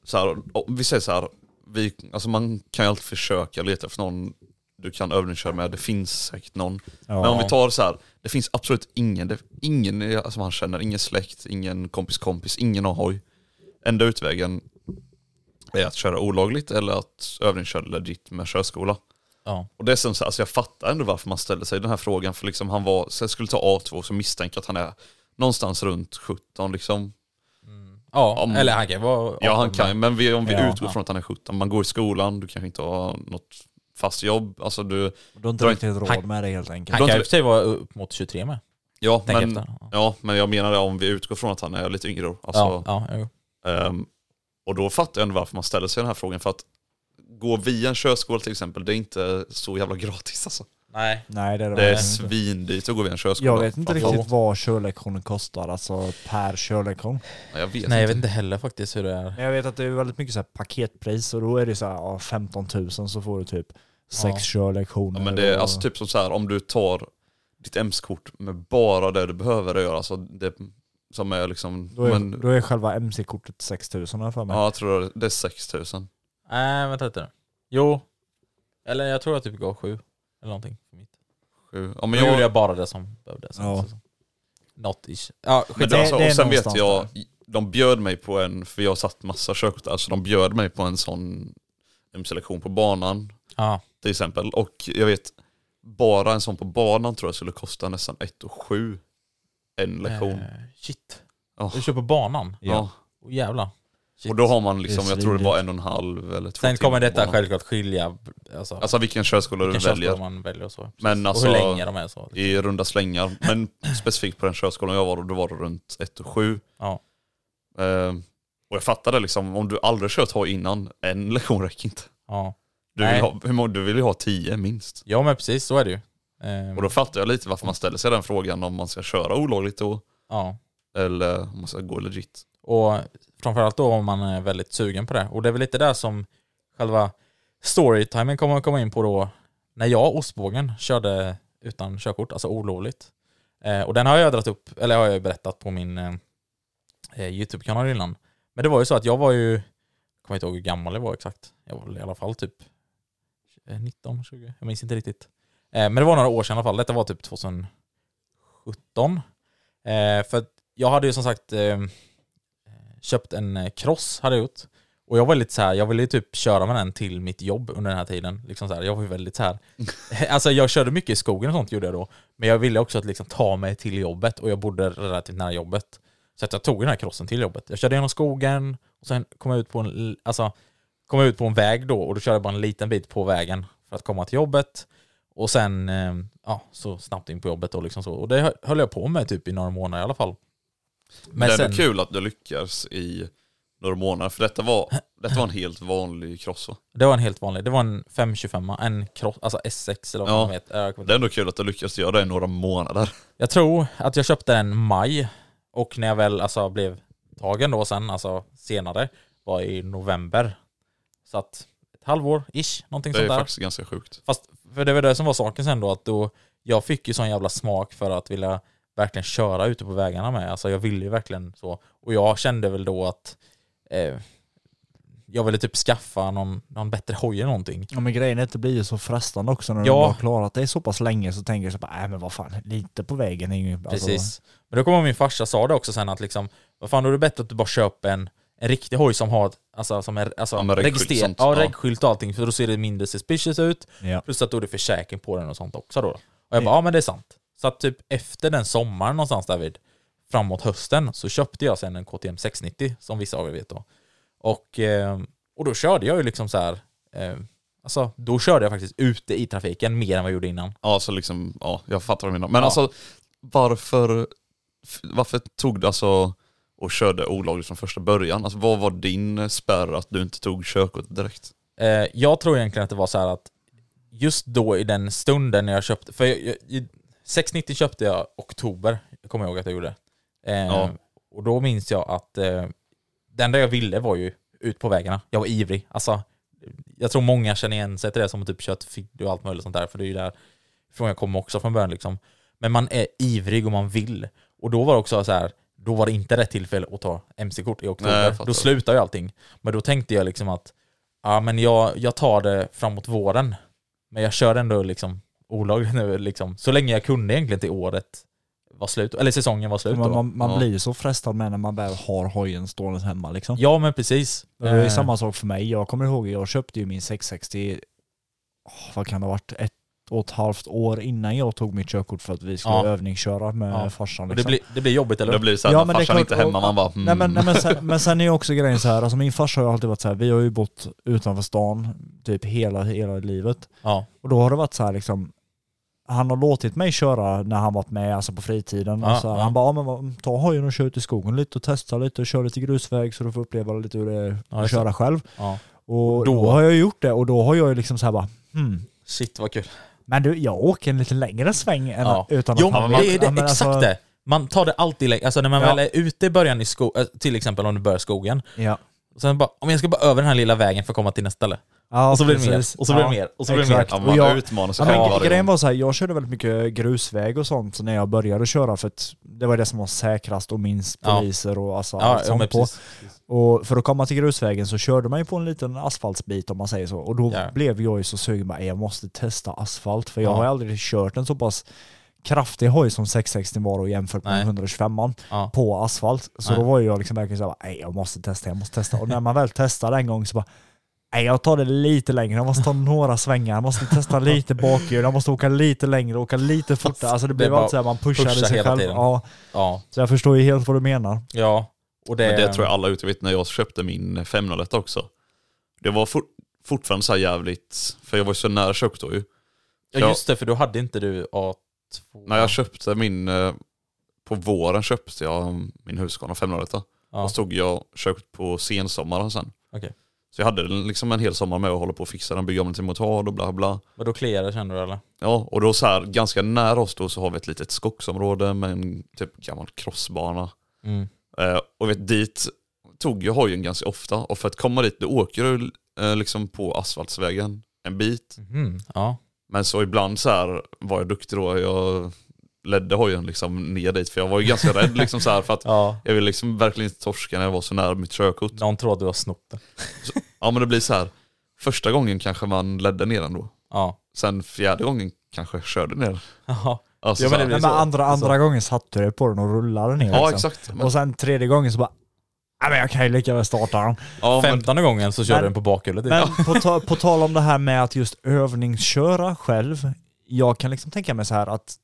S4: så här, om vi säger så här, vi, alltså man kan ju alltid försöka leta efter någon du kan övningsköra med, det finns säkert någon. Men om vi tar så här, det finns absolut ingen, det, ingen som alltså han känner, ingen släkt, ingen kompis kompis, ingen har hoj. Enda utvägen är att köra olagligt eller att övningsköra legit med körskola.
S2: Ja.
S4: Och det är som så här, alltså jag fattar ändå varför man ställde sig den här frågan, för liksom han var, så jag skulle ta A2 så misstänker jag att han är någonstans runt 17 liksom.
S2: Ja,
S4: Om-
S2: eller han kan vara...
S4: Ja han kan ju, men vi, om vi
S3: Ja.
S4: utgår från att han är 17, man går i skolan, du kanske inte har något fast jobb, alltså du,
S3: Du har inte
S4: Dra-
S3: riktigt råd
S2: han-
S3: med det helt enkelt.
S2: Han kan ju i och för sig vara upp mot 23 med.
S4: ja
S2: Tänk
S4: men,
S2: efter. Ja,
S4: ja men jag menar det om vi utgår från att han är lite yngre då. alltså,
S2: ja, ja, jo.
S4: ehm, Och då fattar jag ändå varför man ställer sig den här frågan, för att gå via en körskola till exempel, det är inte så jävla gratis alltså.
S2: Nej.
S3: Nej, det är det,
S4: Det är
S3: verkligen inte.
S4: svindyrt att gå via en körskola.
S3: Jag vet inte
S4: Fan,
S3: riktigt vad körlektionen kostar, alltså per körlektion.
S4: Ja, jag vet
S2: Nej, jag
S4: inte.
S2: vet inte heller faktiskt hur det är.
S3: Men jag vet att det är väldigt mycket så här paketpris och då är det så här, ja, 15 000 så får du typ sex
S2: Ja.
S3: körlektioner.
S4: Ja, men det är
S3: och-
S4: alltså typ som så här om du tar ditt MC-kort med bara det du behöver att göra, alltså det som är liksom,
S3: då, är,
S4: men,
S3: då är själva MC-kortet 6 000 har jag för mig.
S4: ja jag tror det- det är 6000.
S2: Nej, vänta lite nu. Jo. Eller jag tror jag typ gav sju. Eller någonting. För mitt.
S4: Sju. Ja,
S2: Men
S4: men
S2: jag gjorde
S4: jag,
S2: jag bara det som behövdes.
S3: Ja.
S2: Alltså. Not ish. Ja,
S4: men
S2: skit.
S4: det,
S3: det-
S4: alltså,
S3: det är
S4: och sen vet
S3: någonstans
S4: jag, de bjöd mig på en, för jag satt massa körkort där, så de bjöd mig på en sån MC-lektion på banan
S2: Ja.
S4: till exempel. Och jag vet, bara en sån på banan tror jag skulle kosta nästan 1 och sju en lektion.
S2: Eh, shit.
S4: Ja.
S2: Du kör på banan?
S4: Ja.
S2: Åh jävlar. Shit.
S4: Och då har man liksom,
S3: Det är
S4: jag tror det var
S3: svindyrt.
S4: en och en halv eller två
S2: Sen
S4: timmar
S2: kommer
S4: på
S2: detta
S4: banan.
S2: självklart skilja alltså,
S4: Alltså vilken körskola
S2: vilken
S4: du väljer.
S2: körskola man väljer och så. Precis.
S4: Men alltså-
S2: och hur länge de är så.
S4: I runda slängar, men specifikt på den körskolan jag var då, då var det runt 1 och sju.
S2: Ja.
S4: Eh, och jag fattade liksom, om du aldrig kört hoj innan, en lektion räcker inte.
S2: Ja.
S4: Du vill,
S2: Nej.
S4: ha, hur många, du vill ju ha tio minst.
S2: ja, men precis så är det ju. Ehm,
S4: Och då fattar jag lite varför man ställer sig den frågan om man ska köra olagligt då,
S2: ja.
S4: eller om man ska gå legit.
S2: Och framförallt då om man är väldigt sugen på det. Och det är väl lite där som själva storytimen kommer att komma in på då. När jag och ostbågen körde utan körkort, alltså olovligt. Eh, och den har jag dragit upp, eller har jag ju berättat på min eh, eh, YouTube-kanal innan. Men det var ju så att jag var ju, jag kommer inte ihåg hur gammal jag var exakt. Jag var väl i alla fall typ eh, 19, 20, jag minns inte riktigt. Eh, men det var några år sedan i alla fall, detta var typ 2017. Eh, för att jag hade ju som sagt eh, köpt en eh, cross, hade jag gjort. Och jag var lite så här, jag ville ju typ köra med den till mitt jobb under den här tiden. Liksom så här, jag var ju väldigt så här. Alltså jag körde mycket i skogen och sånt gjorde jag då. Men jag ville också att liksom ta mig till jobbet och jag bodde relativt nära jobbet. Så att jag tog den här krossen till jobbet. Jag körde genom skogen och sen kom jag ut på en, l- alltså, kom jag ut på en väg då och då körde jag bara en liten bit på vägen för att komma till jobbet. Och sen eh, ja, så snabbt in på jobbet och liksom så. Och det hö- höll jag på med typ i några månader i alla fall.
S4: Men det är ändå kul att du lyckas i några månader, för detta var, detta var en helt vanlig cross va?
S2: Det var en helt vanlig. Det var en 525, en cross, alltså S6 eller vad
S4: Ja.
S2: man vet. Jag, kommer
S4: Det
S2: inte-
S4: är ändå kul att du lyckas göra det i några månader.
S2: jag tror att jag köpte den i maj och när jag väl alltså, blev tagen då sen, alltså senare, var i november. Så att ett halvår, ish, någonting
S4: Det är
S2: sånt där.
S4: faktiskt ganska sjukt.
S2: Fast för det var det som var saken sen då, att då jag fick ju sån jävla smak för att vilja verkligen köra ute på vägarna med. Alltså jag ville ju verkligen så. Och jag kände väl då att eh, jag ville typ skaffa någon, någon bättre hoj eller någonting.
S3: Ja men grejen är att det blir ju så frestande också när
S2: Ja.
S3: du har klarat det så pass länge så tänker du så bara, nej men vad fan, lite på vägen är ju... alltså-
S2: Precis. Men då kommer min farsa sa det också sen att liksom, vad fan då är det bättre att du bara köper en, en riktig hoj som har, ett- alltså som är, alltså
S4: Ja, med reggskylt
S2: register-
S4: och sånt.
S2: ja,
S4: Ja.
S2: reggskylt och allting, för då ser det mindre suspicious ut,
S3: Ja.
S2: plus att då är det försäkring på den och sånt också då. Och jag bara, ja men det är sant. Så att typ efter den sommaren någonstans därvid, framåt hösten, så köpte jag sen en KTM 690, som vissa av er vet då. Och, eh, och då körde jag ju liksom så här, eh, alltså då körde jag faktiskt ute i trafiken mer än vad jag gjorde innan.
S4: Ja, så liksom, ja, jag fattar vad du menar. Men
S2: Ja.
S4: alltså, varför, f- varför tog du alltså och körde olagligt från första början? Alltså vad var din spärr att du inte tog körkort direkt?
S2: Eh, jag tror egentligen att det var så här att just då i den stunden när jag köpte, för jag, jag, i 690 köpte jag oktober, jag kommer ihåg att jag gjorde. Eh,
S4: Ja.
S2: Och då minns jag att eh, det enda jag ville var ju ut på vägarna. Jag var ivrig. Alltså, jag tror många känner igen sig till det som har typ kört Fiddy och allt möjligt sånt där, för det är ju där från jag kom också från början liksom. Men man är ivrig och man vill. Och då var det också så här, då var det inte rätt tillfälle att ta MC-kort i
S4: Nej,
S2: oktober.
S4: jag fattar.
S2: då slutar ju allting. Men då tänkte jag liksom att, ja men jag, jag tar det framåt våren. Men jag kör ändå liksom olagligt nu liksom. Så länge jag kunde egentligen till året var slut, eller säsongen var slut
S3: Man,
S2: då.
S3: man, man
S4: Ja.
S3: blir ju så frestad med när man väl har hojen stående hemma liksom.
S2: Ja men precis.
S3: Det är ju
S2: Eh,
S3: samma sak för mig. Jag kommer ihåg, jag köpte ju min 660, åh, vad kan det ha varit, ett och ett halvt år innan jag tog mitt körkort för att vi skulle
S2: Ja.
S3: övningsköra med
S2: Ja.
S3: farsan.
S2: och det,
S3: liksom.
S2: blir, det blir jobbigt eller
S4: Det
S2: hur?
S4: blir såhär
S3: Ja,
S4: när
S3: men det är
S4: farsan
S3: klart,
S4: inte är hemma,
S3: och-
S4: man bara
S3: Nej, men,
S4: mm.
S3: nej, men, sen, men sen är ju också grejen så här, alltså min farsa har ju alltid varit så här, vi har ju bott utanför stan typ hela, hela livet.
S2: Ja.
S3: Och då har det varit så här liksom, han har låtit mig köra när han varit med, alltså på fritiden.
S2: Ja,
S3: och så här,
S2: ja.
S3: Han bara, ja, men vad- ta hojen och kör ut i skogen lite och testa lite och kör lite grusväg så du får uppleva lite hur det är
S2: Ja,
S3: att
S2: just det.
S3: köra själv.
S2: ja. Då-
S3: Och då, har jag gjort det och då har jag ju liksom så här bara, hmm,
S2: Shit vad kul.
S3: men du, jag åker en lite längre sväng än,
S2: Ja.
S3: utan
S2: Jo,
S3: att han
S2: men det
S3: Ja,
S2: är det,
S3: men
S2: exakt
S3: alltså-
S2: det. Man tar det alltid längre, alltså när man
S3: Ja.
S2: väl är ute i början i skogen, till exempel om du börjar skogen,
S3: Ja.
S2: och sen bara, om jag ska bara över den här lilla vägen för att komma till nästa ställe.
S3: Ja,
S2: och så blir det mer,
S3: precis.
S2: och så blir det
S3: Ja,
S2: mer, och så blir det mer.
S3: exakt.
S4: Ja,
S3: Och
S4: man
S3: jag-
S4: utmanar sig
S3: Ja,
S4: själv
S3: men
S4: varje
S3: grejen
S4: gång.
S3: var så här, jag körde väldigt mycket grusväg och sånt när jag började köra för att det var det som var säkrast och minst
S2: Ja.
S3: poliser och alltså
S2: Ja,
S3: allt
S2: ja, men
S3: sånt på.
S2: precis.
S3: Och för att komma till grusvägen så körde man ju på en liten asfaltsbit om man säger så. Och då
S2: Ja.
S3: blev jag ju så sugen bara, jag måste testa asfalt för jag
S2: Ja.
S3: har ju aldrig kört en så pass kraftig hoj som 660 var och jämfört med
S2: Nej.
S3: 125
S2: Ja.
S3: på asfalt. Så
S2: Nej.
S3: då var ju jag liksom verkligen såhär, nej jag måste testa, jag måste testa. Och när man väl testade en gång så bara, nej jag tar det lite längre, jag måste ta några svängar, jag måste testa lite bakhjul, jag måste åka lite längre, åka lite fortare. Alltså det blev
S2: bara
S3: alltid såhär, man pushade
S2: pusha
S3: sig
S2: hela
S3: själv.
S2: tiden.
S3: Ja,
S2: Ja.
S3: så jag förstår ju helt vad du menar.
S2: ja. Och det,
S4: Men det tror jag alla ute vet när jag köpte min 501 också. Det var for, fortfarande så här jävligt, för jag var ju så nära köpt då ju.
S2: Ja, just det, för då hade inte du A2.
S4: När jag köpte min, eh, på våren köpte jag min Husqvarna 501
S2: ja.
S4: och så tog jag köpt på sensommaren sen.
S2: Okej.
S4: Så jag hade den liksom en hel sommar med att hålla på och fixa den, bygga om den till motard och bla bla.
S2: Men då kliade det kände du eller?
S4: Ja, och då så här ganska nära oss då så har vi ett litet skogsområde med en typ gammal crossbana.
S2: Mm.
S4: Eh, och vet, dit tog jag hojen ganska ofta och för att komma dit, då åker du eh, liksom på asfaltsvägen en bit
S2: Mhm, Ja.
S4: Men så ibland så här var jag duktig då, jag ledde hojen liksom ner dit för jag var ju ganska rädd liksom så här för att
S2: Ja.
S4: jag ville liksom verkligen inte torska när jag var så nära mitt körkort.
S2: Någon tror att du har snott den.
S4: Ja men det blir så här. första gången kanske man ledde ner den då.
S2: Ja.
S4: Sen fjärde gången kanske jag körde ner.
S2: Ja.
S4: Alltså,
S2: Ja, men
S4: så här.
S2: det
S3: Nej,
S2: blir
S3: men
S2: så.
S3: andra,
S2: Så.
S3: andra gången satte du på den och rullade ner.
S4: Ja
S3: liksom.
S4: exakt. Men,
S3: Och sen tredje gången så bara, nej men jag kan ju lika väl starta den.
S4: ja, men,
S2: Femtonde gången så körde
S3: Men-
S2: den på bakhjulet.
S3: Men
S2: Ja.
S3: på, ta, på tal om det här med att just övningsköra själv, jag kan liksom tänka mig så här att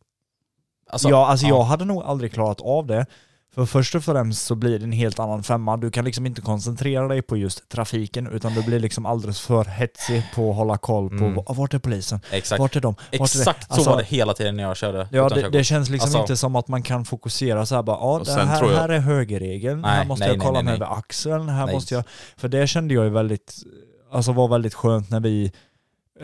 S2: Alltså,
S3: jag, alltså
S2: ja.
S3: jag hade nog aldrig klarat av det. För först och främst så blir det en helt annan femma. Du kan liksom inte koncentrera dig på just trafiken utan du blir liksom alldeles för hetsig på att hålla koll på
S2: Mm.
S3: mm. vart är polisen?
S2: Exakt.
S3: Vart är de? Vart är
S2: Exakt så
S3: Alltså,
S2: var det hela tiden när jag körde.
S3: Ja,
S2: utan
S3: det,
S2: körkort.
S3: det känns liksom
S2: Alltså,
S3: inte som att man kan fokusera så här bara, ja
S4: Och
S3: det
S4: sen
S3: här,
S4: tror jag-
S3: här är högerregeln,
S2: Nej,
S3: här måste
S2: nej,
S3: jag
S2: nej,
S3: kolla
S2: nej,
S3: mig
S2: nej.
S3: över axeln, här
S2: Nej.
S3: måste jag... För det kände jag ju väldigt, alltså var väldigt skönt när vi,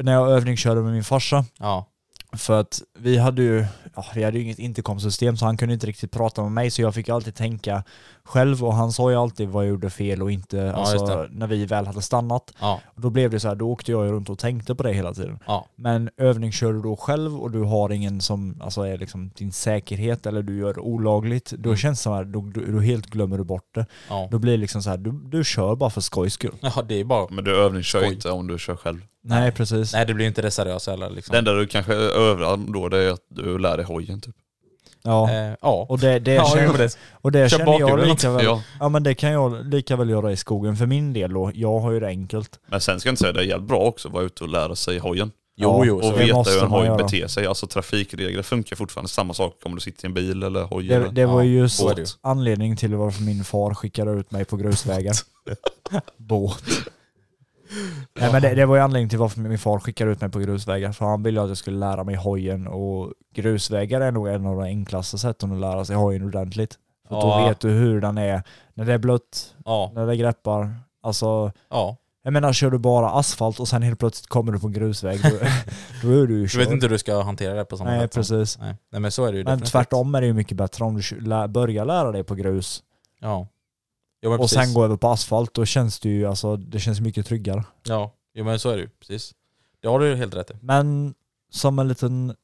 S3: när jag övningskörde med min farsa.
S2: Ja.
S3: För att vi hade ju, ja, vi hade ju inget intercomsystem så han kunde inte riktigt prata med mig så jag fick ju alltid tänka själv och han sa ju alltid vad jag gjorde fel och inte,
S2: just
S3: alltså
S2: det.
S3: när vi väl hade stannat.
S2: Ja.
S3: Och då blev det så här, då åkte jag ju runt och tänkte på det hela tiden.
S2: Ja.
S3: Men övning kör du då själv och du har ingen som alltså är liksom din säkerhet eller du gör det olagligt, då känns det som att du, du, du helt glömmer du bort det.
S2: Mm. Ja.
S3: Då blir det liksom så här, du, du kör bara för skojs skull.
S2: ja, det är bara...
S4: men du övningskör ju
S2: Oj.
S4: inte om du kör själv.
S3: Nej, precis.
S2: Nej, det blir ju inte det seriösa heller. Liksom.
S4: Det enda du kanske övar då det är att du lär dig hojen typ.
S3: Ja.
S2: Eh, ja.
S3: Och det, det,
S2: Ja, jo,
S3: känner,
S2: det.
S3: och det
S2: Kör
S3: känner jag
S2: bakhjulet.
S3: lika väl.
S4: Ja.
S3: Ja men det kan jag lika väl göra i skogen för min del då. Jag har ju det enkelt.
S4: Men sen ska jag inte säga det är jävligt bra också att vara ute och lära sig hojen.
S2: Jo,
S3: Ja,
S2: jo.
S3: så
S4: Och
S3: det
S4: veta
S3: måste
S4: hur en
S3: man
S4: hoj
S3: göra.
S4: beter sig. Alltså trafikregler funkar fortfarande samma sak om du sitter i en bil eller hoj.
S3: Det,
S4: eller-
S3: det
S2: Ja,
S3: var ju
S2: så är det ju.
S3: just anledningen till varför min far skickade ut mig på grusvägar. Båt. Nej men det, det var ju anledningen till varför min far skickade ut mig på grusvägar. För han ville att jag skulle lära mig hojen och grusvägar är nog en av de enklaste sätten att lära sig hojen ordentligt. För
S2: Ja.
S3: då vet du hur den är när det är blött,
S2: Ja.
S3: när det greppar. Alltså
S2: ja.
S3: Jag menar, kör du bara asfalt och sen helt plötsligt kommer du på en grusväg, då, då är du ju
S2: Du
S3: körd.
S2: vet inte hur du ska hantera det på samma
S3: Nej,
S2: sätt. som-
S3: precis.
S2: Nej. Nej, men så är det ju
S3: Men
S2: definitivt.
S3: tvärtom är det ju mycket bättre om du kö- lä- börjar lära dig på grus
S2: Ja. Jo, men
S3: och
S2: precis.
S3: sen går över på asfalt, då känns det ju alltså, det känns mycket tryggare.
S2: Ja, jo, men så är det ju. Precis. Det har du ju helt rätt i.
S3: Men som en liten,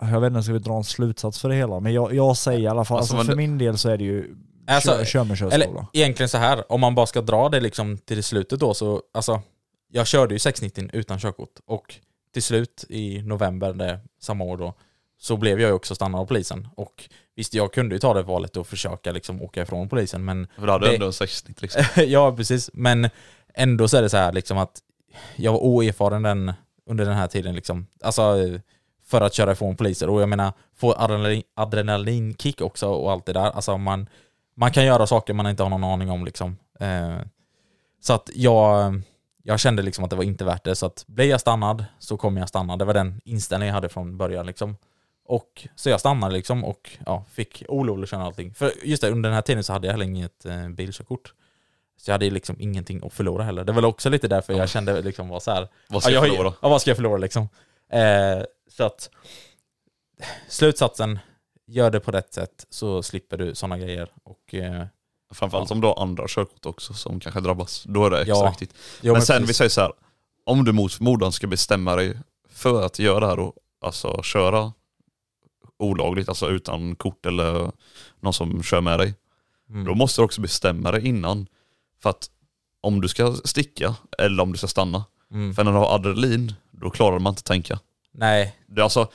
S3: jag vet inte, ska vi dra en slutsats för det hela? Men jag, jag säger i alla fall, alltså,
S4: Alltså, men
S3: för
S4: det-
S3: min del så är det ju
S2: Alltså,
S3: kör, kör med körskola.
S2: Eller egentligen så här, om man bara ska dra det liksom till slutet då så, alltså, jag körde ju 690 utan körkort och till slut i november det, samma år då, så blev jag ju också stannad av polisen. Och visst, jag kunde ju ta det valet och försöka liksom åka ifrån polisen, men
S4: För du hade
S2: det-
S4: ändå en 60 liksom.
S2: ja, precis. Men ändå så är det så här liksom att jag var oerfaren den, under den här tiden liksom. Alltså eh, för att köra ifrån poliser. Och jag menar, få adrenalin, adrenalinkick också och allt det där. Alltså man, man kan göra saker man inte har någon aning om liksom. Eh, så att jag, jag kände liksom att det var inte värt det. Så att blir jag stannad så kommer jag stanna. Det var den inställningen jag hade från början liksom. Och, så jag stannade liksom och ja, fick olovlig köra allting. För just det, under den här tiden så hade jag heller inget eh, bilkörkort. Så jag hade ju liksom ingenting att förlora heller. Det var väl också lite därför jag kände liksom var så här.
S4: Vad ska
S2: ja,
S4: jag
S2: har ju-
S4: förlora?
S2: Ja, vad ska jag förlora liksom? Eh, så att slutsatsen, gör det på rätt sätt så slipper du sådana grejer. Och, eh,
S4: Framförallt om du har andra körkort också som kanske drabbas. Då är det extra
S2: Ja.
S4: viktigt.
S2: jo,
S4: men sen vi
S2: precis.
S4: säger så här, om du mot förmodan ska bestämma dig för att göra det här och alltså köra olagligt, alltså utan kort eller någon som kör med dig.
S2: Mm.
S4: Då måste du också bestämma dig innan. För att om du ska sticka eller om du ska stanna.
S2: Mm.
S4: För när du har adrenalin, då klarar man inte att tänka.
S2: Nej,
S4: Det är alltså,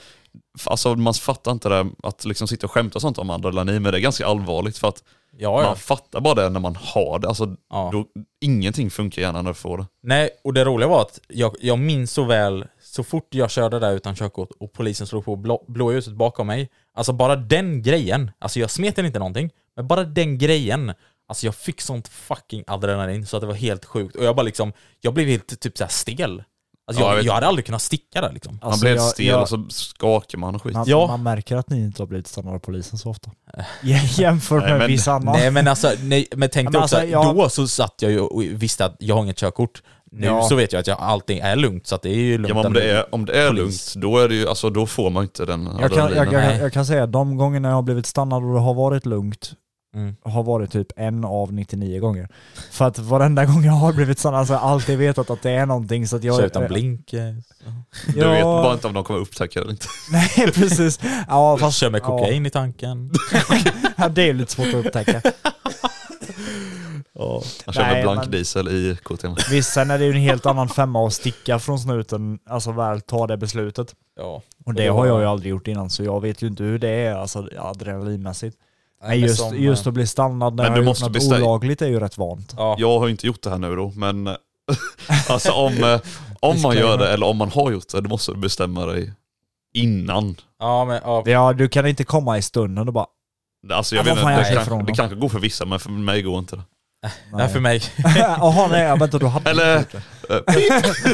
S4: f- alltså man fattar inte det, här att liksom sitta och skämta och sånt om adrenalin, men det är ganska allvarligt för att
S2: ja, ja.
S4: man fattar bara det när man har det. Alltså,
S2: ja.
S4: då, ingenting funkar gärna när du får det.
S2: Nej, och det roliga var att jag, jag minns så väl så fort jag körde där utan körkort och polisen slog på blå, blåljuset bakom mig. Alltså bara den grejen, alltså jag smeten inte någonting, men bara den grejen. Alltså jag fick sånt fucking adrenalin så att det var helt sjukt. Och jag bara liksom, jag blev helt typ såhär stel. Alltså
S4: Ja,
S2: jag,
S4: jag
S2: jag,
S4: vet.
S2: hade aldrig kunnat sticka där liksom.
S4: man
S3: Alltså,
S4: blir helt
S3: jag-
S4: stel
S3: jag-
S4: och så skakar man och skit.
S3: Man,
S2: Ja.
S3: man märker att ni inte har blivit stannade av polisen så ofta. Jämfört
S4: Nej,
S3: med
S4: men-
S3: vissa andra.
S2: Nej men alltså, nej, men tänk dig
S3: Men
S2: också,
S3: alltså, jag-
S2: då så satt jag ju och visste att jag har inget körkort. Nu
S3: Ja.
S2: så vet jag att jag, allting är lugnt så att det är ju lugnt.
S4: Ja, men om, det är, om det är
S2: Polis.
S4: lugnt, då, är det ju, alltså, då får man ju inte den
S3: Jag kan, jag,
S2: Nej.
S3: jag, jag kan säga de gångerna jag har blivit stannad och det har varit lugnt
S2: Mm.
S3: har varit typ en av 99 gånger. För att varenda gång jag har blivit stannad så har jag alltid vetat att det är någonting så att jag...
S2: Så utan blink. eh, så.
S4: Du vet bara inte om de kommer upptäcka det eller inte.
S3: Nej precis. Ja, fast,
S2: Kör med kokain i tanken.
S3: Ja, det är ju lite svårt att upptäcka.
S4: Han kör
S3: Nej,
S4: med blank
S3: men-
S4: diesel i KTM.
S3: Visst, sen är det ju en helt annan femma att sticka från snuten, alltså väl ta det beslutet.
S2: Ja.
S3: Och det har jag ju aldrig gjort innan, så jag vet ju inte hur det är alltså, adrenalinmässigt. Men just,
S2: som,
S3: just
S2: eh,
S3: att bli stannad när jag
S4: Men du
S3: har gjort
S4: måste
S3: något
S4: bestäm-
S3: olagligt är ju rätt vant.
S2: Ja.
S4: Jag har ju inte gjort det här nu då, men alltså om, eh, om man gör det eller om man har gjort det, då måste du bestämma dig innan.
S2: Ja, men, ja.
S3: Ja, du kan inte komma i stunden och bara...
S4: Alltså
S3: Ja,
S4: jag
S3: vad
S4: vet
S3: fan,
S4: inte,
S3: jag
S4: det,
S3: ser
S4: kanske,
S3: ifrån
S4: det
S3: dem.
S4: kanske går för vissa, men för mig går inte det.
S2: Nej, för mig.
S3: Jaha, nej, ja, vänta, du hade
S4: Eller- eh,
S3: inte gjort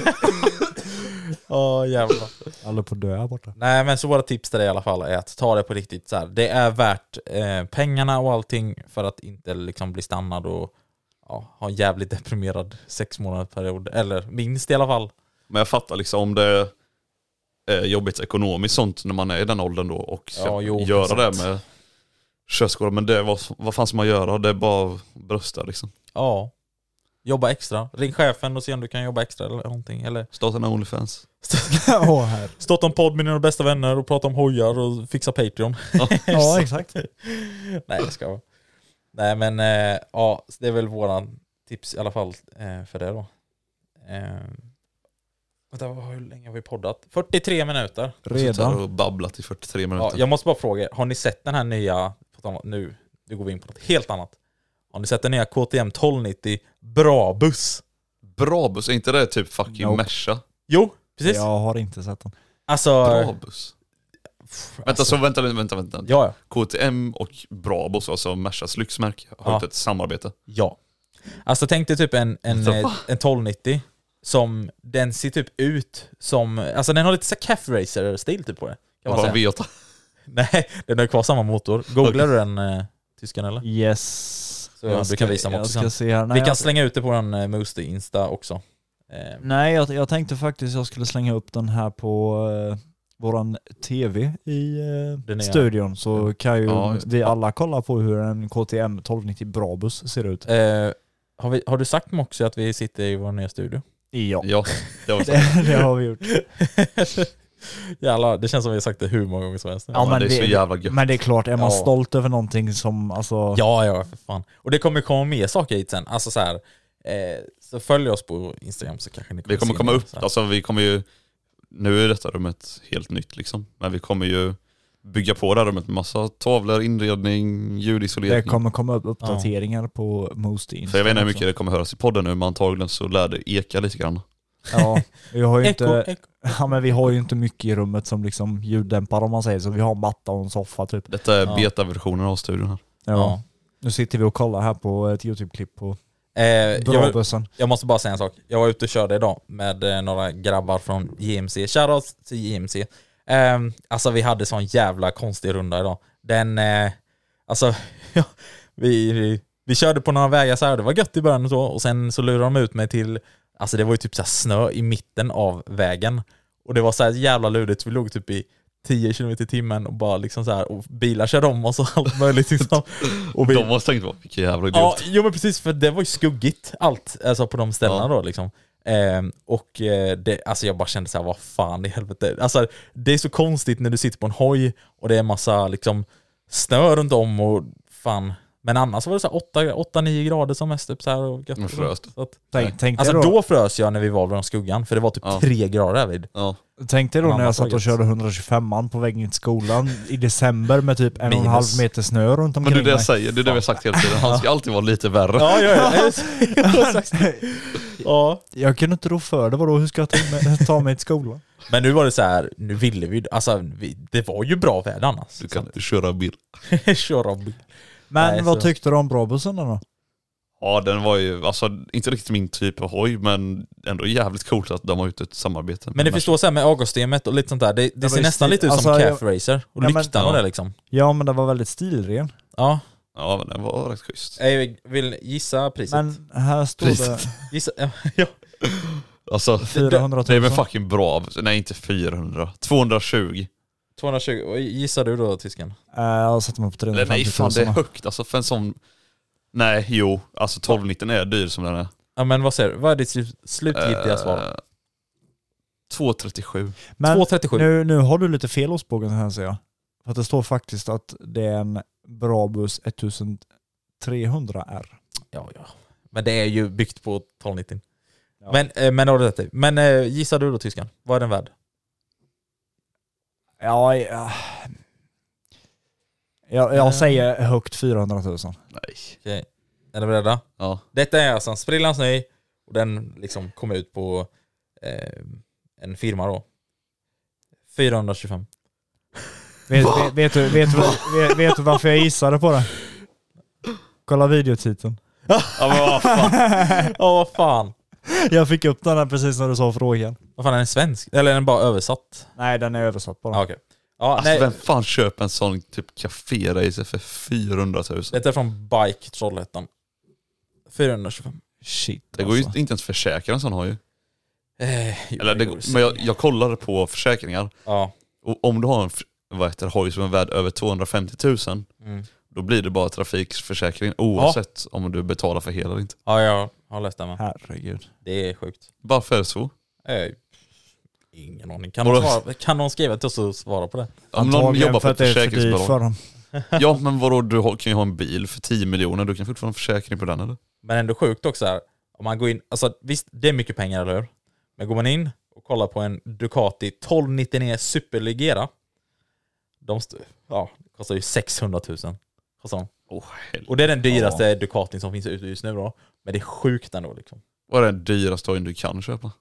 S3: det.
S2: Åh jävlar.
S3: Jag håller på att dö här borta.
S2: Nej men så våra tips till dig i alla fall är att ta det på riktigt så här. Det är värt eh, pengarna och allting för att inte liksom bli stannad och ja, ha en jävligt deprimerad sex månaders period. Eller minst i alla fall.
S4: Men jag fattar liksom om det är jobbigt ekonomiskt sånt när man är i den åldern då och ska
S2: Ja, jo,
S4: göra
S2: sant.
S4: det med körskola. Men det, vad, vad fan ska man göra? Det är bara att brösta liksom.
S2: Ja. Jobba extra. Ring chefen och se om du kan jobba extra eller någonting. Eller
S4: Starta en Onlyfans.
S3: Åh, här.
S2: starta en podd med dina bästa vänner och prata om hojar och fixa Patreon.
S3: Ja, exakt.
S2: Nej jag ska Nej men eh, ja, så det är väl våran tips i alla fall eh, för det då. Eh, vänta, vad- hur länge har vi poddat? 43 minuter.
S4: Sitter här
S3: Redan.
S4: och babblat i 43
S2: Ja,
S4: minuter.
S2: jag måste bara fråga er, har ni sett den här nya, på tal om- nu, nu går vi in på något helt annat. Har ni sett den nya KTM 1290 Brabus?
S4: Bra buss, är inte det typ fucking
S3: Nope.
S4: Merca?
S2: Jo, precis.
S3: Jag har inte sett den.
S2: Alltså,
S4: Bra buss.
S2: pff,
S4: Vänta,
S2: alltså-
S4: så vänta, vänta, vänta.
S2: Ja, ja.
S4: KTM och Brabus, alltså Mercas lyxmärke, har
S2: Ja.
S4: gjort ett samarbete.
S2: Ja. Alltså tänk dig typ en, en,
S4: Alltså,
S2: eh, en 1290 som den ser typ ut som, alltså den har lite så här caff racer stil typ på det. Kan man
S4: Vad har
S2: säga.
S4: V8?
S2: Nej, den har ju kvar samma motor. Googlar du den eh, tyskan eller?
S3: Yes.
S2: Så jag brukar visa
S3: jag
S2: motor
S3: ska
S2: sen.
S3: se här. Nej,
S2: Vi kan
S3: jag,
S2: slänga ut det på en eh, Moosty Insta också. Eh,
S3: nej jag, jag tänkte faktiskt jag skulle slänga upp den här på eh, våran tv i eh,
S2: Den är-
S3: studion så kan ju
S4: Ja.
S3: vi alla kolla på hur en KTM 1290 Brabus ser ut.
S2: Eh, har, vi, har du sagt Moxie att vi sitter i vår nya studio?
S3: Ja,
S4: Ja, det var
S3: det, det har vi gjort.
S2: Jävlar, det känns som vi har sagt det hur många gånger som helst. nu.
S3: Ja, men
S4: det är så
S3: det-
S4: jävla gött.
S3: Men det är klart, är man
S2: Ja.
S3: stolt över någonting som alltså...
S2: Ja, ja, för fan. Och det kommer komma mer saker hit sen. Alltså så här, eh, så följ oss på Instagram så kanske ni
S4: Vi kommer
S2: se
S4: komma
S2: mer
S4: upp,
S2: så här.
S4: alltså vi kommer ju, nu är detta rummet helt nytt liksom, men vi kommer ju bygga på det här rummet med massa tavlor, inredning,
S3: Det
S4: ljudisolering.
S3: kommer komma upp uppdateringar på Moosty Insta
S4: För jag vet inte hur mycket
S3: också.
S4: det kommer höras i podden nu, men antagligen så lär det eka lite grann.
S3: Ja, vi har ju inte...
S2: Eko, eko.
S3: Ja men vi har ju inte mycket i rummet som liksom ljuddämpar om man säger så. Vi har en matta och en soffa typ.
S4: Detta är
S2: Ja.
S4: betaversionen av studion här.
S3: Ja.
S2: Ja.
S3: Nu sitter vi och kollar här på ett YouTube-klipp på
S2: Eh, jag, vill-
S3: Brabussen.
S2: jag måste bara säga en sak. Jag var ute och körde idag med eh, några grabbar från JMC. Shoutouts till JMC. Eh, alltså vi hade sån jävla konstig runda idag. Den, eh, alltså, vi, vi, vi körde på några vägar så här, det var gött i början och så, och sen så lurade de ut mig till, alltså det var ju typ så här snö i mitten av vägen. Och det var så här jävla lurigt, vi låg typ i 10 km i timmen och bara liksom så här, och bilar körde om oss och allt möjligt liksom. Och vi,
S4: De måste tänkt, "Vad, vilken jävla idiot.
S2: Ja, jo men precis, för det var ju skuggigt allt, alltså på de ställena
S4: Ja.
S2: då liksom. Ehm, och eh, det, alltså jag bara kände så här, vad fan i helvete. Alltså det är så konstigt när du sitter på en hoj och det är massa liksom snö runt om och fan. Men annars var det så här 8-9 grader som mest typ så här och gött.
S4: Men
S2: och så.
S4: frös du?
S2: Så att,
S3: Tänk, tänk,
S2: alltså
S3: dig då,
S2: då frös jag när vi var vid den skuggan, för det var typ
S4: Ja.
S2: 3 grader därvid.
S4: Ja.
S3: tänk dig då när
S2: Mamma
S3: jag satt och
S2: tagit.
S3: körde 125an på vägen till skolan i december med typ en och en
S2: Minus.
S3: halv meter snö runt
S4: Men
S3: omkring
S4: det är det jag
S3: mig.
S4: säger, det är det vi har sagt hela tiden, han ska alltid vara lite värre.
S2: Ja, ja, ja. ja.
S3: Jag kunde inte rå för det, vadå? Hur ska jag ta mig, ta mig till skolan?
S2: Men nu var det så här, nu ville vi, alltså vi, det var ju bra väder annars.
S4: Du kan köra bil.
S2: Köra bil.
S3: Men
S2: Nej,
S3: vad
S2: så-
S3: tyckte du om Brabussen då? då?
S4: Ja den var ju, alltså inte riktigt min typ av hoj, men ändå jävligt coolt att de har gjort ett samarbete.
S2: Men det
S4: med
S2: förstår såhär med avgassystemet och lite sånt där, det, det
S3: men
S2: ser
S3: det
S2: nästan
S3: sti-
S2: lite ut
S3: alltså,
S2: som
S3: jag-
S2: Calf Racer och
S3: Ja, men-
S2: lyktan och
S4: Ja.
S2: det liksom.
S3: Ja men den var väldigt stilren.
S2: Ja.
S4: Ja men den var rätt schysst.
S2: Jag vill gissa priset.
S3: Men här står det
S4: Priset.
S2: Gissa, ja.
S4: Alltså,
S3: 400 000.
S4: det är väl fucking bra, nej inte 400, 220.
S2: 220, och gissar du då tysken?
S3: Eh, jag satte mig på
S4: Eller
S3: 350
S4: nej
S3: 000.
S4: fan det är högt alltså för en sån... Nej jo, alltså 1290 är Eh, dyr som den är.
S2: typ Ja men vad säger du, vad är ditt slut- slutgiltiga
S4: Eh,
S2: svar?
S4: 2.37.
S3: Men
S2: 2.37.
S3: Nu, nu har du lite fel årsboken här ser jag. För att det står faktiskt att det är en Brabus 1300R.
S2: Ja, ja. Men det är ju byggt på 1290. Men, eh, men, har du rätt i. men eh, gissar du då tyskan? Vad är den värd?
S3: Ja, ja. Jag, jag säger högt 400 000.
S4: Nej.
S2: Okej. Är ni beredda?
S4: Ja.
S2: Detta är alltså en sprillans ny och den liksom kom ut på eh, en firma då. 425.
S3: Vet, vet, vet, du, vet, du, vet, vet du varför jag gissade på det? Kolla videotiteln.
S2: Ja men vad fan. Ja vad fan.
S3: Jag fick upp den här precis när du sa frågan.
S2: Vad fan är den svensk? Eller är den bara översatt?
S3: Nej, den är översatt bara.
S2: Ja okej. Ja,
S4: Alltså
S2: nej,
S4: vem fan köper en sån typ café-racer för 400 000?
S2: detta är från Bike Trollhättan. 425.
S3: Shit alltså.
S4: Det går ju inte ens försäkra en sån har ju.
S2: Eh, jo,
S4: Eller det,
S2: går att
S4: men jag,
S2: se.
S4: jag kollade på försäkringar.
S2: Ja.
S4: Och om du har en f- vad heter, det, hoj som är värd över 250 000,
S2: Mm.
S4: då blir det bara trafikförsäkring oavsett om du betalar för hela eller inte.
S2: ja, jag har läst den va.
S3: Herregud.
S2: Det är sjukt.
S4: Varför är det så?
S2: Eh, ingen aning. Kan någon, svara, kan någon skriva till oss och svara på det?
S4: Om någon jobbar på
S3: för
S4: ett
S3: att det är för dyrt för
S4: försäkringsbolag.
S3: dem.
S4: Ja men vadå, du har- kan ju ha en bil för 10 miljoner, du kan fortfarande ha en försäkring på den eller?
S2: Men ändå sjukt också här, om man går in, alltså visst det är mycket pengar eller hur? Men går man in och kollar på en Ducati 1299 Superleggera, de st- ja, det kostar ju 600 000. Kostar de.
S4: Åh helvete.
S2: Och det är den dyraste Ducatin som finns ute just nu då. Men det är sjukt ändå liksom.
S4: Vad är den dyraste hojen du kan köpa?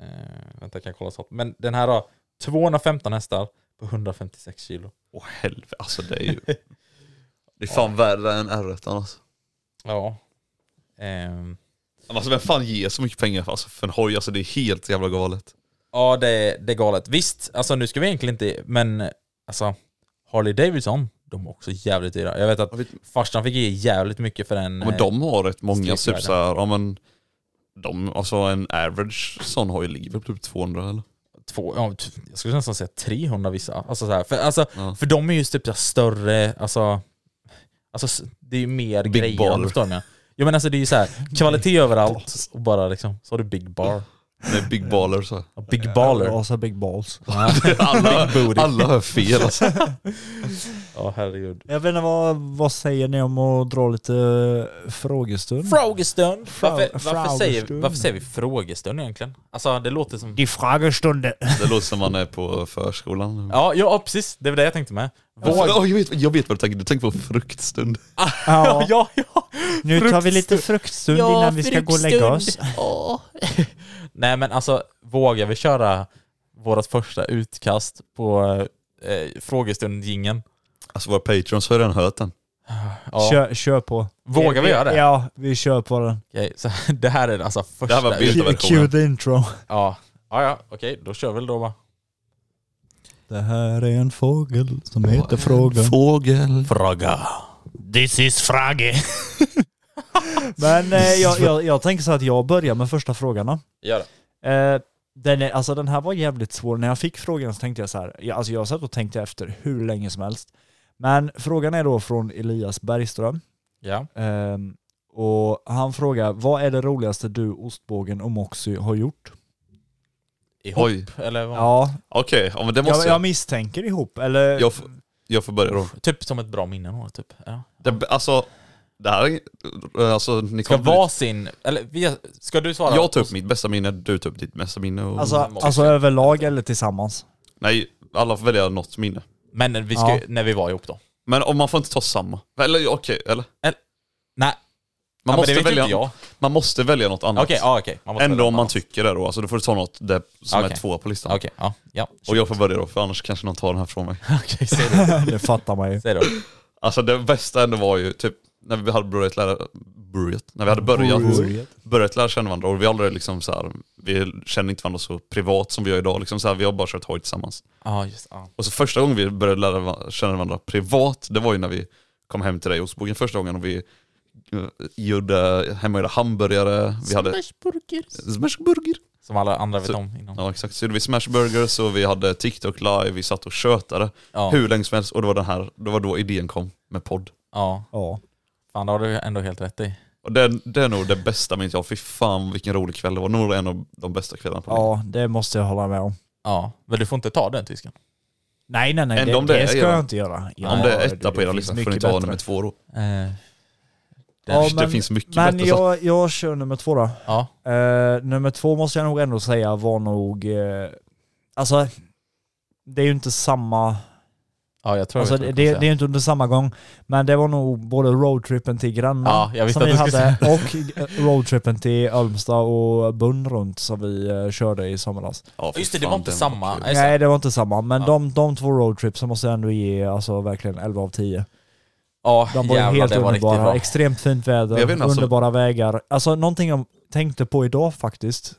S2: Eh, vänta, kan jag kolla så? Men den här då, 215 hästar på 156 kilo.
S4: Åh helvete, alltså det är ju... Det är fan värre än R1 alltså.
S2: Ja. Ehm,
S4: Alltså vem fan ger så mycket pengar för, alltså, för en hoj? Alltså det är helt jävla galet.
S2: Ja, det, det är galet. Visst, alltså nu ska vi egentligen inte, men alltså Harley Davidson, de är också jävligt dyra. Jag vet att
S4: Ja, vi-
S2: farsan fick ge jävligt mycket för den.
S4: Ja, men
S2: eh,
S4: de har rätt många
S2: Streetvärden.
S4: typ såhär, ja men... De, alltså en average sån hoj ligger väl på typ 200 eller?
S2: eh, två, ja, t- jag skulle nästan säga 300 vissa. Alltså, så här, för, alltså,
S4: Ja.
S2: för de är ju typ så här större, alltså, alltså s- det är ju mer
S4: Big
S2: grejer.
S4: bar.
S2: Förstår du vad jag menar? Jo men alltså det är ju så här, kvalitet överallt och bara liksom, så har du big bar.
S4: Med big baller så. här.
S2: Och Big baller.
S3: Alltså big balls.
S4: Alla, alla hör fel alltså.
S2: Ja herregud.
S3: Jag vet inte, vad, vad säger ni om att dra lite eh, frågestund?
S2: Frågestund! Varför, varför,
S3: Frågestund.
S2: säger, varför säger vi frågestund egentligen? Alltså det låter som...
S3: Die Fragestunde.
S4: Det låter som man är på förskolan.
S2: Mm. Ja, ja precis. Det var det jag tänkte med. Våg...
S4: Alltså, åh, jag, vet, jag vet vad du tänker, du tänker på fruktstund.
S3: Ja,
S2: Ja, ja.
S3: nu tar vi lite fruktstund innan vi ska gå och lägga oss.
S2: Nej men alltså, vågar vi köra vårt första utkast på eh, frågestund-jingeln?
S4: Alltså våra patrons har ju redan hört den.
S2: Ja.
S3: Kör, kör på.
S2: Vågar vi göra det?
S3: Ja, vi kör på den.
S2: Okej, så det här är alltså första...
S4: Det här var bild-
S2: ut-
S4: Betaversionen.
S3: Cue the intro.
S2: Ja, ja, ja okej, då kör vi väl då va.
S3: Det här är en fågel som heter Frågan.
S4: Fågel.
S2: Fråga.
S5: This is Frage.
S3: Men eh, jag, jag, jag tänker så att jag börjar med första frågan. då.
S2: Gör det.
S3: Eh, den, är, alltså, den här var jävligt svår. När jag fick frågan så tänkte jag så här. Jag, alltså, jag satt och tänkte efter hur länge som helst. Men frågan är då från Elias Bergström.
S2: Ja.
S3: Ehm, och han frågar, vad är det roligaste du, ostbågen och Moxie har gjort?
S2: Ihop,
S4: Oj.
S2: eller vad?
S3: Ja,
S4: Okej, ja, men det
S3: jag,
S4: måste
S3: jag
S4: jag.
S3: misstänker ihop, eller?
S4: Jag, får- jag får börja då.
S2: Typ som ett bra minne då, typ. Ja.
S4: Det, alltså, det här är... Alltså, ni
S2: Ska
S4: kommer bli-
S2: vara sin... Eller, vi- ska du svara?
S4: Jag tar upp mitt bästa minne, du tar upp ditt bästa minne. Och...
S3: alltså,
S2: Moxie.
S3: alltså överlag eller tillsammans?
S4: Nej, alla får välja något minne.
S2: Men vi ska,
S3: Ja.
S2: när vi var ihop då.
S4: Men om man får inte ta samma. Eller okej, eller?
S2: Nej,
S4: Man,
S2: ja, men det
S4: måste
S2: vet ju
S4: välja,
S2: inte jag.
S4: man måste välja något annat.
S2: Okej, ja, okej. Man måste
S4: Ändå
S2: välja
S4: om
S2: något
S4: man
S2: annat.
S4: tycker det då. Alltså, då får du ta något det som
S2: Okej.
S4: är två på listan.
S2: Okej, ja. ja.
S4: Och jag får börja då, för annars kanske någon tar den här från mig.
S2: Okej, säg det.
S3: Det fattar man ju.
S2: Säg då.
S4: Alltså det bästa ändå var ju typ när vi hade börjat lära, börjat, när vi hade börjat,
S3: Börjat.
S4: börjat lära känna varandra och vi aldrig liksom så här, vi känner inte varandra så privat som vi gör idag. Liksom så här, vi har bara kört hoj tillsammans.
S2: Ja, just ja.
S4: Och så första gången vi började lära va- känna varandra privat, det var ju när vi kom hem till dig i Ostbågen första gången och vi eh, gjorde hemmagjorda hamburgare. Vi hade smashburger.
S2: Som alla andra vet
S4: Så-
S2: om innan.
S4: Ja exakt, så gjorde vi smashburgers och vi hade TikTok live, vi satt och tjötade
S2: Ja.
S4: hur länge som helst och det var, den här, det var då idén kom med podd.
S2: Ja,
S3: Ja.
S2: fan det har du ändå helt rätt i.
S4: Och det, det är nog det bästa minns jag. Fy fan vilken rolig kväll det var. Nog en av de bästa kvällarna på länge.
S3: Ja, det måste jag hålla med om.
S2: Ja, men du får inte ta den tysken.
S3: Nej nej nej,
S4: Ändå
S3: det,
S4: om det
S3: det
S4: är
S3: ska
S4: era-
S3: jag inte göra. Ja,
S4: Om det är
S3: du,
S4: etta på
S3: det
S4: era
S3: finns
S4: lista får
S3: mycket
S4: ni ta
S3: bättre.
S4: nummer två då.
S2: Eh,
S3: Ja,
S4: det finns mycket
S3: men
S4: bättre
S3: jag, jag kör nummer två då.
S2: ja.
S3: Eh, nummer två måste jag nog ändå säga var nog... Eh, alltså, det är ju inte samma...
S2: ja, jag tror
S3: Alltså,
S2: jag vet
S3: det,
S2: vad
S3: det
S2: du
S3: är ju inte under samma gång, men det var nog både roadtrippen till grannen
S2: Ja, jag visste
S3: som vi
S2: att du skulle
S3: hade och eh, roadtrippen till Ölmstad och Bund runt som vi eh, körde i somras.
S4: Ja, fy
S2: Just det, det
S4: fan,
S2: var inte
S4: den
S2: samma.
S4: kul.
S2: Nej,
S3: Nej det var inte samma, men
S2: Ja.
S3: de, de två roadtripsen måste jag ändå ge alltså, verkligen 11 av 10.
S2: Ja,
S3: De var ju
S2: jävlar,
S3: helt
S2: det var riktigt
S3: underbara,
S2: bra.
S3: extremt fint väder,
S4: Jag vet inte, alltså-
S3: underbara vägar. Alltså någonting jag tänkte på idag faktiskt,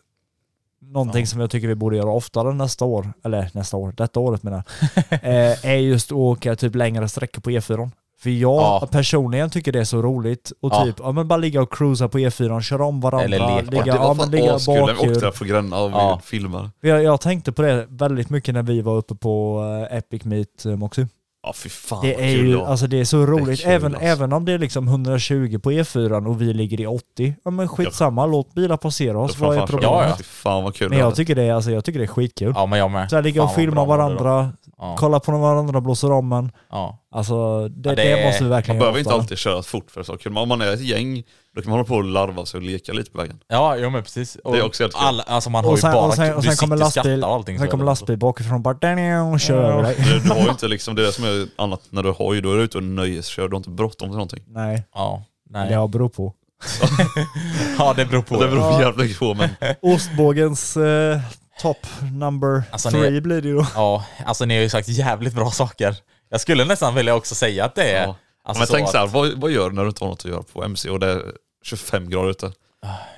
S3: någonting
S2: Ja.
S3: som jag tycker vi borde göra oftare nästa år, eller nästa år, detta året menar jag, eh, är just att åka typ längre sträckor på E4. För jag
S2: Ja.
S3: personligen tycker det är så roligt och
S2: Ja.
S3: typ, ja men bara ligga och cruisa på E4, köra om varandra,
S2: Eller leka.
S4: Ja,
S3: ligga,
S4: det
S3: ja,
S4: var
S3: men
S4: fan
S3: ligga
S4: askul när vi åkte
S3: bakhjul.
S4: där på Gränna och vi
S2: Ja.
S4: filmade.
S3: Jag, jag tänkte på det väldigt mycket när vi var uppe på eh, Epic Meet eh, Moxie.
S4: Ja fy fan
S3: Det
S4: vad
S3: är
S4: kul
S3: ju,
S4: det var.
S3: alltså det är så roligt.
S4: kul,
S3: även,
S4: alltså.
S3: även om det är liksom 120 på E4 och vi ligger i 80. Ja men skitsamma, låt bilar passera
S4: Då
S3: oss.
S4: får
S3: Vad är
S4: fan köra.
S3: problemet?
S2: Ja, ja.
S4: Fy fan vad kul
S3: Men
S4: det
S3: jag
S4: var.
S3: tycker det, är- alltså, jag tycker det är skitkul.
S2: Ja, men jag med.
S3: Så här ligga
S2: Fan,
S3: och
S2: vad
S3: filma
S2: bra var det då.
S3: varandra,
S2: Ja.
S3: kolla på varandra, blåser om en.
S2: Ja.
S3: Alltså det,
S2: Ja, det
S3: det,
S2: är-
S3: måste vi verkligen
S4: Man behöver inte
S3: oftare.
S4: alltid köra fort för saker, men om man är ett gäng då kan man hålla på och larva sig och leka lite på vägen.
S2: Ja, jo men precis. Och
S4: Det är också helt kul.
S2: alla, alltså man har
S3: Och
S2: ju
S3: sen,
S2: bara
S3: och sen, och
S2: du
S3: sen kommer
S2: sitter och skrattar
S3: lastbil,
S2: och allting.
S3: sen
S2: så
S3: kommer
S2: är det
S3: lastbil bakifrån bara "Daniel", och kör över dig.
S4: Du, du har ju inte liksom, det är det som är annat när du har ju, då är du ute och nöjeskör, du har inte bråttom till någonting.
S3: Nej,
S2: Ja, nej.
S3: det beror på.
S2: ja, det beror på.
S4: Det beror jävligt mycket på men
S3: Ostbågens eh, top number
S2: Alltså, ni-
S3: three blir det ju då.
S2: Ja, alltså ni har ju sagt jävligt bra saker. Jag skulle nästan vilja också säga att det är...
S4: Ja.
S2: Alltså,
S4: men
S2: så
S4: tänk
S2: att-
S4: så här, vad, vad gör du när du inte har något att göra på MC och det är 25 grader ute?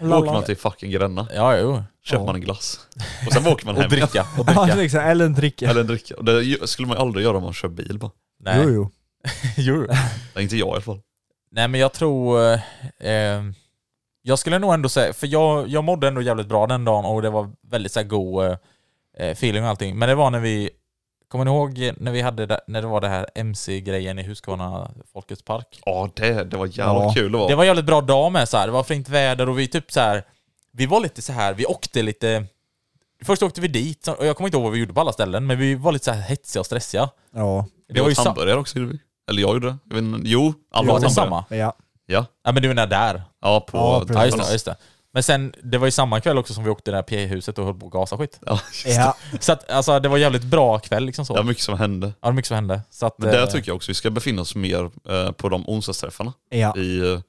S4: Då åker man till fucking Gränna,
S2: Ja, jo.
S4: köper man en glass och sen åker man hem
S2: Och
S4: igen.
S2: dricka. Och
S3: Ja,
S2: dricka.
S3: liksom, eller en dricka.
S4: Eller en dricka. Och Det ju- skulle man ju aldrig göra om man kör bil bara.
S2: Nej.
S3: Jo, jo.
S2: Jo.
S4: Nej, inte jag i alla fall.
S2: Nej men jag tror... eh, Eh, jag skulle nog ändå säga, för jag, jag mådde ändå jävligt bra den dagen och det var väldigt så här, god eh, eh, feeling och allting. Men det var när vi... Kommer ni ihåg när vi hade det, när det var det här MC-grejen i Huskvarna Folkets Park?
S4: Ja det, det var jävligt
S3: Ja.
S4: kul det var.
S2: Det var jävligt bra dag med så här. det var fint väder och vi typ så här. Vi var lite så här, vi åkte lite... Först åkte vi dit, och jag kommer inte ihåg vad vi gjorde på alla ställen, men vi var lite så här hetsiga och stressiga.
S3: Ja.
S4: Vi åt
S2: sa-
S4: hamburgare också gjorde vi. Eller jag gjorde det. Jag vet inte. Jo, alla
S2: Var
S4: åt
S2: det
S4: hamburgare.
S2: samma?
S3: Ja.
S4: Ja.
S2: Ja men du menar där?
S4: Ja, på...
S3: Ja, precis.
S2: Ja just det, ja, just det. Men sen, det var ju samma kväll också som vi åkte det här P-huset och höll på att gasa skit.
S4: Ja, just det.
S3: Ja.
S2: Så att, alltså det var jävligt bra kväll liksom så.
S4: Det var mycket som hände.
S2: Ja, det var mycket som hände. Så att,
S4: Men där
S2: eh,
S4: tycker jag också vi ska befinna oss mer eh, på de onsdagsträffarna
S3: ja.
S4: i eh,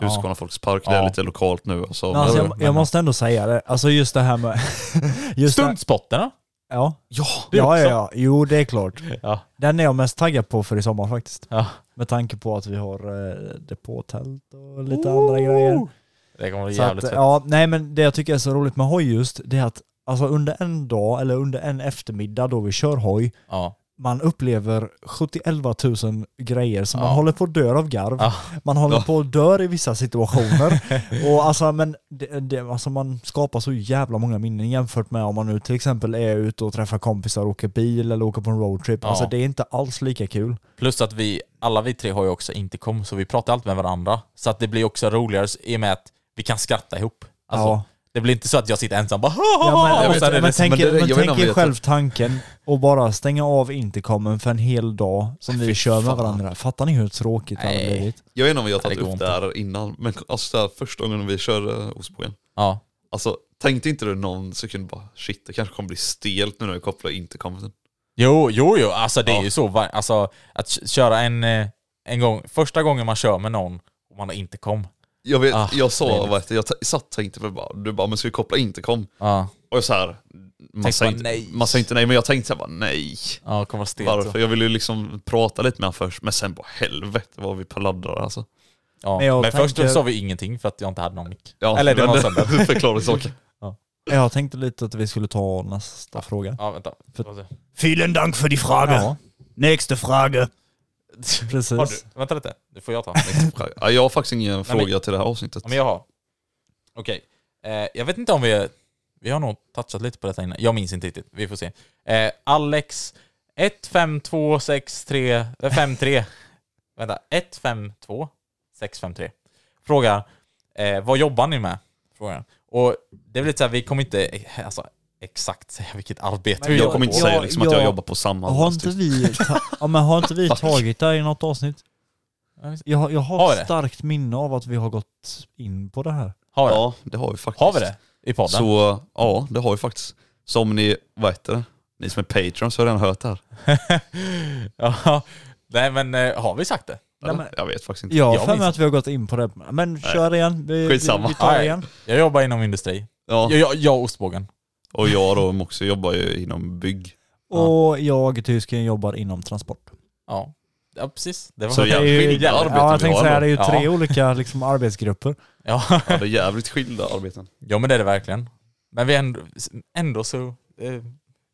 S4: Huskvarna Folks Park. Det
S2: Ja.
S4: är lite lokalt nu. och så
S3: Men alltså,
S2: men-
S3: jag, jag måste ändå säga det, alltså just det här med... Just det-
S2: Stuntspotterna?
S3: ja.
S2: Ja,
S3: Ja, ja, ja, jo det är klart.
S2: Ja.
S3: Den är jag mest taggad på för i sommar faktiskt.
S2: Ja.
S3: Med tanke på att vi har eh, depåtält och lite andra grejer.
S2: Det kommer bli
S3: Så
S2: jävligt
S3: att,
S2: fett.
S3: eh, ja, nej men det jag tycker är så roligt med hoj just, det är att alltså under en dag eller under en eftermiddag då vi kör hoj,
S2: Ja.
S3: man upplever 71 000 grejer som
S2: Ja.
S3: man håller på att dö av garv.
S2: Ja.
S3: Man håller
S4: Ja.
S3: på att dö i vissa situationer. och alltså, men det, det, alltså man skapar så jävla många minnen jämfört med om man nu till exempel är ute och träffar kompisar och åker bil eller åker på en roadtrip.
S2: Ja.
S3: Alltså det är inte alls lika kul.
S2: Plus att vi, alla vi tre har ju också inte kom så vi pratar allt med varandra. Så att det blir också roligare i och med att vi kan skratta ihop. Alltså,
S3: Ja.
S2: Det blir inte så att jag sitter ensam bara
S3: Ja, men,
S2: och sen är
S3: men,
S2: det
S3: tänk,
S4: men det-
S3: er- men
S4: jag vet inte om
S3: tänk er
S4: vi-
S3: själv tanken och bara stänga av intercomen för en hel dag som vi
S4: Fy
S3: kör med
S4: fan.
S3: varandra. Fattar ni hur tråkigt det hade
S2: Nej.
S3: blivit?
S4: Jag vet inte om vi har
S2: Nej, det
S4: tagit
S2: går
S4: upp det
S2: inte.
S4: här innan, men alltså det här, första gången vi körde eh, Ostbågen.
S2: Ja.
S4: Alltså tänkte inte du någon sekund bara shit det kanske kommer bli stelt nu när vi kopplar intercomen.
S2: Jo, jo, jo. Alltså det är
S4: Ja.
S2: ju så. va- Alltså att k- köra en, eh, en gång, första gången man kör med någon och man inte kom.
S4: Jag vet,
S2: Ah,
S4: jag
S2: det är
S4: sa,
S2: det.
S4: vad heter det, jag t- satt och tänkte för bara, du bara men ska vi koppla intercom?
S2: Ja,
S4: Och så här, man
S2: Ah. Tänkte
S4: sa
S2: bara,
S4: inte,
S2: nej.
S4: man sa inte nej men jag tänkte så här bara nej.
S2: ja kommer vara stelt.
S4: Varför? Jag ville ju liksom prata lite med honom först, men sen bara helvete vad vi paladdrar alltså.
S2: Ja. Men,
S3: Men jag
S2: först
S3: tänker-
S2: sa vi ingenting för att jag inte hade någon mick.
S4: Ja,
S2: Eller det
S4: men
S2: var sönder.
S4: Förklara saken.
S3: Jag tänkte lite att vi skulle ta nästa fråga.
S2: Ja, vänta.
S5: Vielen Dank für die Frage.
S3: Ja,
S5: Nächste Frage.
S2: Har
S3: precis.
S2: du? Vänta lite. Det får jag ta.
S4: Ja, jag har faktiskt ingen
S2: men-
S4: fråga till det här avsnittet.
S2: Ja, men jag har. Okej. Eh, jag vet inte om vi... Vi har nog touchat lite på detta innan. Jag minns inte riktigt. Vi får se. Eh, Alex eh, 152653... Vänta. 152653. Frågar. Eh, vad jobbar ni med? Frågan. Och det är väl lite så här, vi kommer inte eh, alltså, exakt säga vilket arbete vi
S4: Jag
S2: jobbar
S4: kommer inte
S2: på.
S4: säga liksom att jag
S3: jag-
S4: jobbar på Samhall.
S3: Har inte
S4: typ.
S3: vi, ta- ja, men har inte vi
S4: Fuck.
S3: tagit det i något avsnitt? Jag, har- jag har,
S2: Har vi det?
S3: ett starkt minne av att vi har gått in på det här.
S2: Har, det?
S4: Ja, det har vi faktiskt.
S2: har vi det i podden?
S4: Så ja, det har vi faktiskt. Så om ni, vad heter det? Ni som är patrons har redan hört det här.
S2: ja. Nej men eh, har vi sagt det?
S4: Eller?
S3: men-
S4: jag vet faktiskt inte.
S3: Jag har
S2: Jag
S3: för mig
S2: minns
S3: att vi har gått in på det. Men kör igen. Vi,
S4: Skitsamma.
S3: Vi, vi tar
S2: Nej.
S3: det igen.
S2: Jag jobbar inom industri.
S4: Ja.
S2: Jag, jag, jag och ostbågen.
S4: Och jag då också jobbar ju inom bygg.
S3: Och jag, tysken, jobbar inom transport.
S2: Ja. ja, precis. Det var
S4: Så
S3: Det är
S4: jävligt
S3: ju-
S4: skilda arbeten
S3: Ja, jag
S4: vi
S3: tänkte
S4: har
S3: säga
S4: då.
S3: det är ju
S2: Ja.
S3: tre olika liksom, arbetsgrupper.
S2: Ja.
S4: Ja, det är jävligt skilda arbeten.
S2: ja men det är det verkligen. Men vi är ändå, ändå så eh,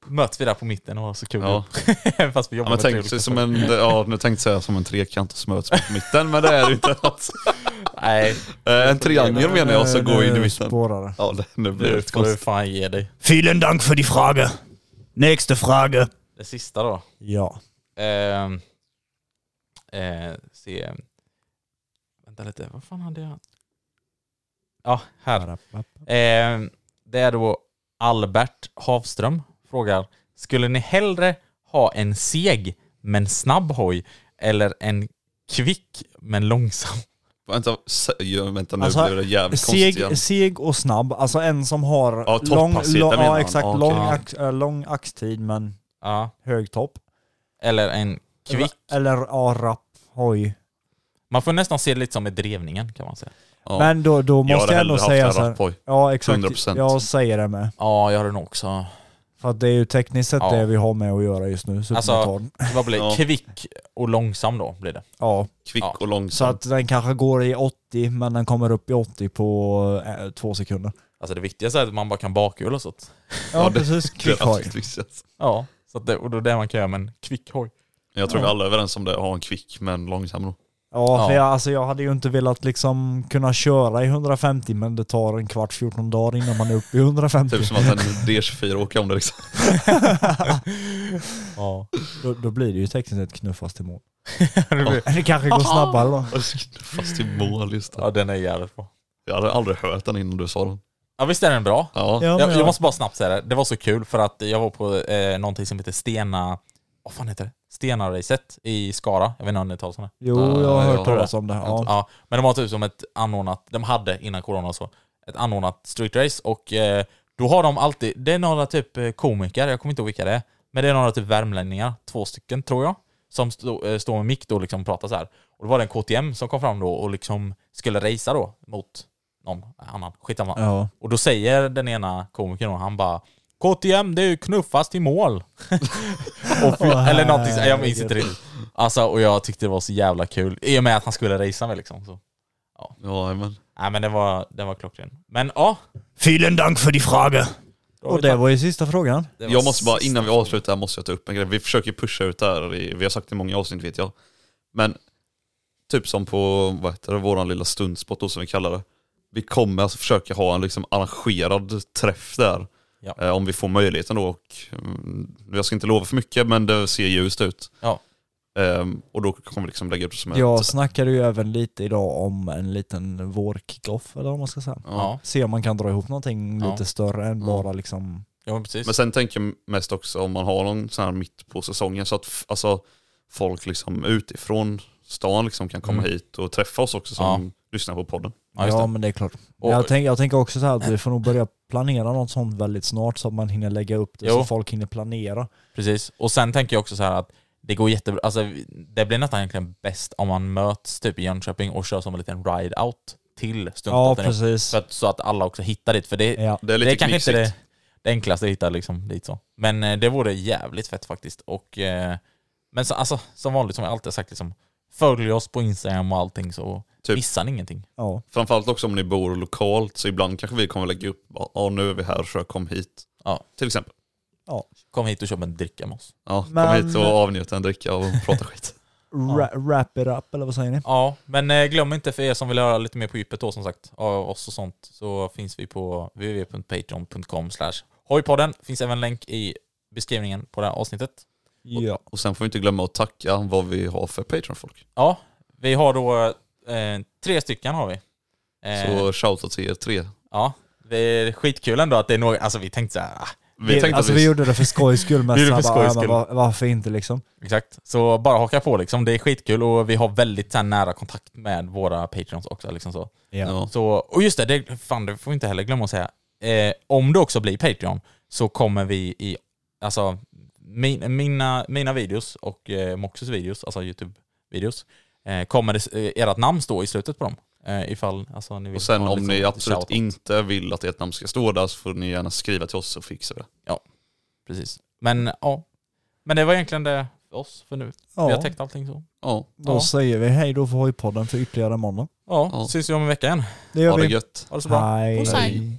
S2: möts vi där på mitten och har så kul.
S4: Ja.
S2: Även fast vi
S4: Ja,
S2: jobbar
S4: men
S2: med tre
S4: tänk
S2: olika
S4: sig som
S2: saker.
S4: en, ja, nu tänkte jag säga som en trekant som möts på mitten, men det är det inte alls.
S2: Nej,
S4: Eh, En triangel menar jag, så går in i mitten.
S3: Eh, Spårare.
S4: Ja, det, nu blir det
S2: nu
S4: ett
S2: får du
S4: konstigt.
S2: fan ge dig.
S5: Vielen Dank für die Frage. Nächste Frage.
S2: Det sista då.
S3: Ja.
S2: Ehm, eh, se. Vänta lite, vad fan hade jag? Ja, här. Ehm, det är då Albert Havström frågar. Skulle ni hellre ha en seg men snabb hoj eller en kvick men långsam?
S4: Vänta, se- ja, vänta nu
S3: Alltså,
S4: blir det jävligt konstigt igen.
S3: Seg, seg och snabb, alltså en som har
S4: Ja,
S3: lång,
S4: topphastighet,
S3: lång,
S4: det menar
S3: ja,
S4: han.
S3: exakt,
S4: Ja,
S3: lång,
S4: okej.
S3: ax, äh, lång axtid men
S2: Ja.
S3: hög topp.
S2: Eller en kvick.
S3: Eller ja, rapp hoj.
S2: Man får nästan se det lite som med drevningen kan man säga.
S4: Ja.
S3: Men då, då
S4: jag
S3: måste
S4: hade
S3: jag ändå
S4: hellre haft
S3: säga
S4: en
S3: så här,
S4: rapphoj.
S3: Ja exakt,
S4: 100%.
S3: jag säger det med.
S2: Ja, jag har den också.
S3: För att det är ju tekniskt sett
S2: Ja.
S3: det vi har med att göra just nu,
S2: Alltså-
S3: supermotorn.
S2: Vad blir det?
S4: Ja.
S2: Kvick och långsam då blir det.
S3: ja.
S4: Kvick
S2: Ja.
S4: och
S3: Så
S4: långsam.
S3: att den kanske går i 80 men den kommer upp i 80 på eh, två sekunder.
S2: Alltså det viktigaste är att man bara kan bakhjul och sånt.
S3: Ja,
S4: Ja, det-
S3: precis,
S4: Det alltså, är
S3: kvick hoj.
S4: absolut viktigast.
S2: Ja, så att det, och då är det man kan göra med en kvick hoj.
S4: Jag tror vi alla är överens om det, ha en kvick men långsam då.
S3: Ja, för
S2: Ja.
S3: jag, alltså jag hade ju inte velat liksom kunna köra i 150 men det tar en kvart, 14 dagar innan man är uppe i 150.
S4: Typ som att en D24 åker om det liksom.
S2: Ja.
S3: då, då blir det ju tekniskt sett knuffas till mål.
S2: Det blir-
S3: Det kanske går snabbare då.
S4: Fast i mål, just det.
S2: ja, den är jävligt bra.
S4: Jag hade aldrig hört den innan du sa den.
S2: Ja visst är den bra?
S4: Ja.
S3: Ja, men
S2: jag,
S3: jag,
S2: jag måste bara snabbt säga det, det var så kul för att jag var på eh, någonting som heter Stena... Vad fan heter det? Stena-racet i Skara. Jag vet inte om ni har talat om det?
S3: jo, jag har
S4: Ja,
S3: hört
S4: ja.
S3: talas om det. här. Ja.
S2: Ja, men de har typ som ett anordnat, de hade innan corona och så, ett anordnat streetrace och eh, då har de alltid, det är några typ eh, komiker, jag kommer inte ihåg vilka det är, men det är några typ värmlänningar, två stycken tror jag, som stå, eh, står med mick då och liksom pratar så här. Och då var det en KTM som kom fram då och liksom skulle racea då mot någon annan, skitsamma.
S3: Ja.
S2: Och då säger den ena komikern då, han bara KTM, det är ju knuffas till mål. och fly-
S3: Åh,
S2: eller någonting, så- jag minns
S3: herregud.
S2: inte riktigt. Alltså, och jag tyckte det var så jävla kul. I och med att han skulle racea med liksom. Så.
S4: Ja, men.
S2: Nej men det var, den var klockren. Men ja.
S5: Vielen Dank für die Frage.
S2: då har
S3: Och
S2: vi
S3: det
S2: tagit-
S3: var ju sista frågan.
S2: det var
S4: Jag måste bara,
S2: sista
S4: innan vi avslutar, måste jag ta upp en grej. Vi försöker pusha ut det här, i- vi har sagt det i många avsnitt vet jag. Men typ som på, vad heter det, våran lilla stundspot då som vi kallar det. Vi kommer alltså försöka ha en liksom arrangerad träff där.
S2: Ja.
S4: Eh, om vi får möjligheten då och, mm, jag ska inte lova för mycket men det ser ljust ut.
S2: Ja.
S4: Ehm, och då kommer vi liksom lägga upp det som
S3: Jag
S4: ett...
S3: snackade ju även lite idag om en liten vårkickoff eller vad man ska säga.
S2: Ja,
S3: Se om man kan dra ihop någonting
S2: Ja.
S3: lite större än bara liksom...
S2: ja men precis.
S4: Men sen tänker jag mest också om man har någon sån här mitt på säsongen så att f- alltså, folk liksom utifrån stan liksom kan komma
S2: Mm.
S4: hit och träffa oss också som lyssnar på podden.
S2: ja,
S3: Ja,
S2: just det.
S3: men det är klart.
S2: Och-
S3: jag, tänk, jag tänker också så här att vi får nog börja planera något sånt väldigt snart så att man hinner lägga upp det
S2: Jo.
S3: så folk hinner planera.
S2: Precis. Och sen tänker jag också så här att det går jättebra, alltså vi- det blir nästan egentligen bäst om man möts typ i Jönköping och kör som en liten ride-out till
S3: Ja,
S2: stundspotten.
S3: precis.
S2: så, att, så att alla också hittar dit, för det,
S3: Ja.
S4: Det är lite
S2: det är kanske
S4: knixigt.
S2: inte det, det enklaste att hitta liksom, dit så. Men eh, det vore jävligt fett faktiskt. Och, eh, men så, alltså, som vanligt, som jag alltid har sagt, liksom, följ oss på Instagram och allting så
S4: Typ.
S2: missar ni ingenting.
S3: Ja.
S4: Framförallt också om ni bor lokalt så ibland kanske vi kommer lägga upp, ja ja, nu är vi här så kom hit.
S2: Ja.
S4: Till exempel.
S2: Kom hit och köp en dricka med oss.
S4: Ja, kom
S3: Men-
S4: hit och avnjut en dricka och prata skit.
S3: Ra- wrap it up, eller vad säger ni?
S2: Ja, men eh, glöm inte för er som vill höra lite mer på djupet då som sagt, av oss och sånt, så finns vi på www.patreon.com slash hojpodden. Finns även länk i beskrivningen på det här avsnittet.
S3: Ja.
S4: Och sen får vi inte glömma att tacka vad vi har för Patreon-folk.
S2: Ja, vi har då eh, tre stycken har vi. Eh,
S4: Så shoutout till er tre.
S2: Ja, det är skitkul ändå att det är några, alltså vi tänkte så här, ah,
S4: Vi tänkte
S3: alltså
S4: att
S3: vi...
S4: vi,
S3: gjorde det för skojs skull men
S2: Vi gjorde det
S3: så
S2: för
S3: bara,
S2: skojs
S3: ja, men
S2: skull.
S3: var, varför inte liksom?
S2: Exakt, så bara haka på liksom. Det är skitkul och vi har väldigt så här, nära kontakt med våra patreons också. Liksom så.
S4: Ja.
S2: Så, och just det, det, fan, det får vi inte heller glömma att säga. Eh, om du också blir Patreon så kommer vi i, alltså min, mina, mina videos och eh, Moxus videos, alltså YouTube-videos, eh, kommer det, eh, ert namn stå i slutet på dem. Eh, ifall, alltså, ni vill
S4: Och sen
S2: ha
S4: om
S2: liksom
S4: ni
S2: lite
S4: absolut
S2: shoutout.
S4: inte vill att ert namn ska stå där så får ni gärna skriva till oss så fixar vi det.
S2: Precis. Men ja. Men det var egentligen det för oss för nu.
S3: Ja,
S2: Vi har täckt allting så.
S4: Ja,
S3: då
S2: ja.
S3: säger vi hej då för Hojpodden för ytterligare en måndag.
S2: Ja,
S4: Ja.
S2: syns vi om en vecka igen.
S3: Det gör
S4: ha det
S3: vi.
S4: gött.
S2: Ha det så bra.
S3: Hej.
S2: Puss, hej.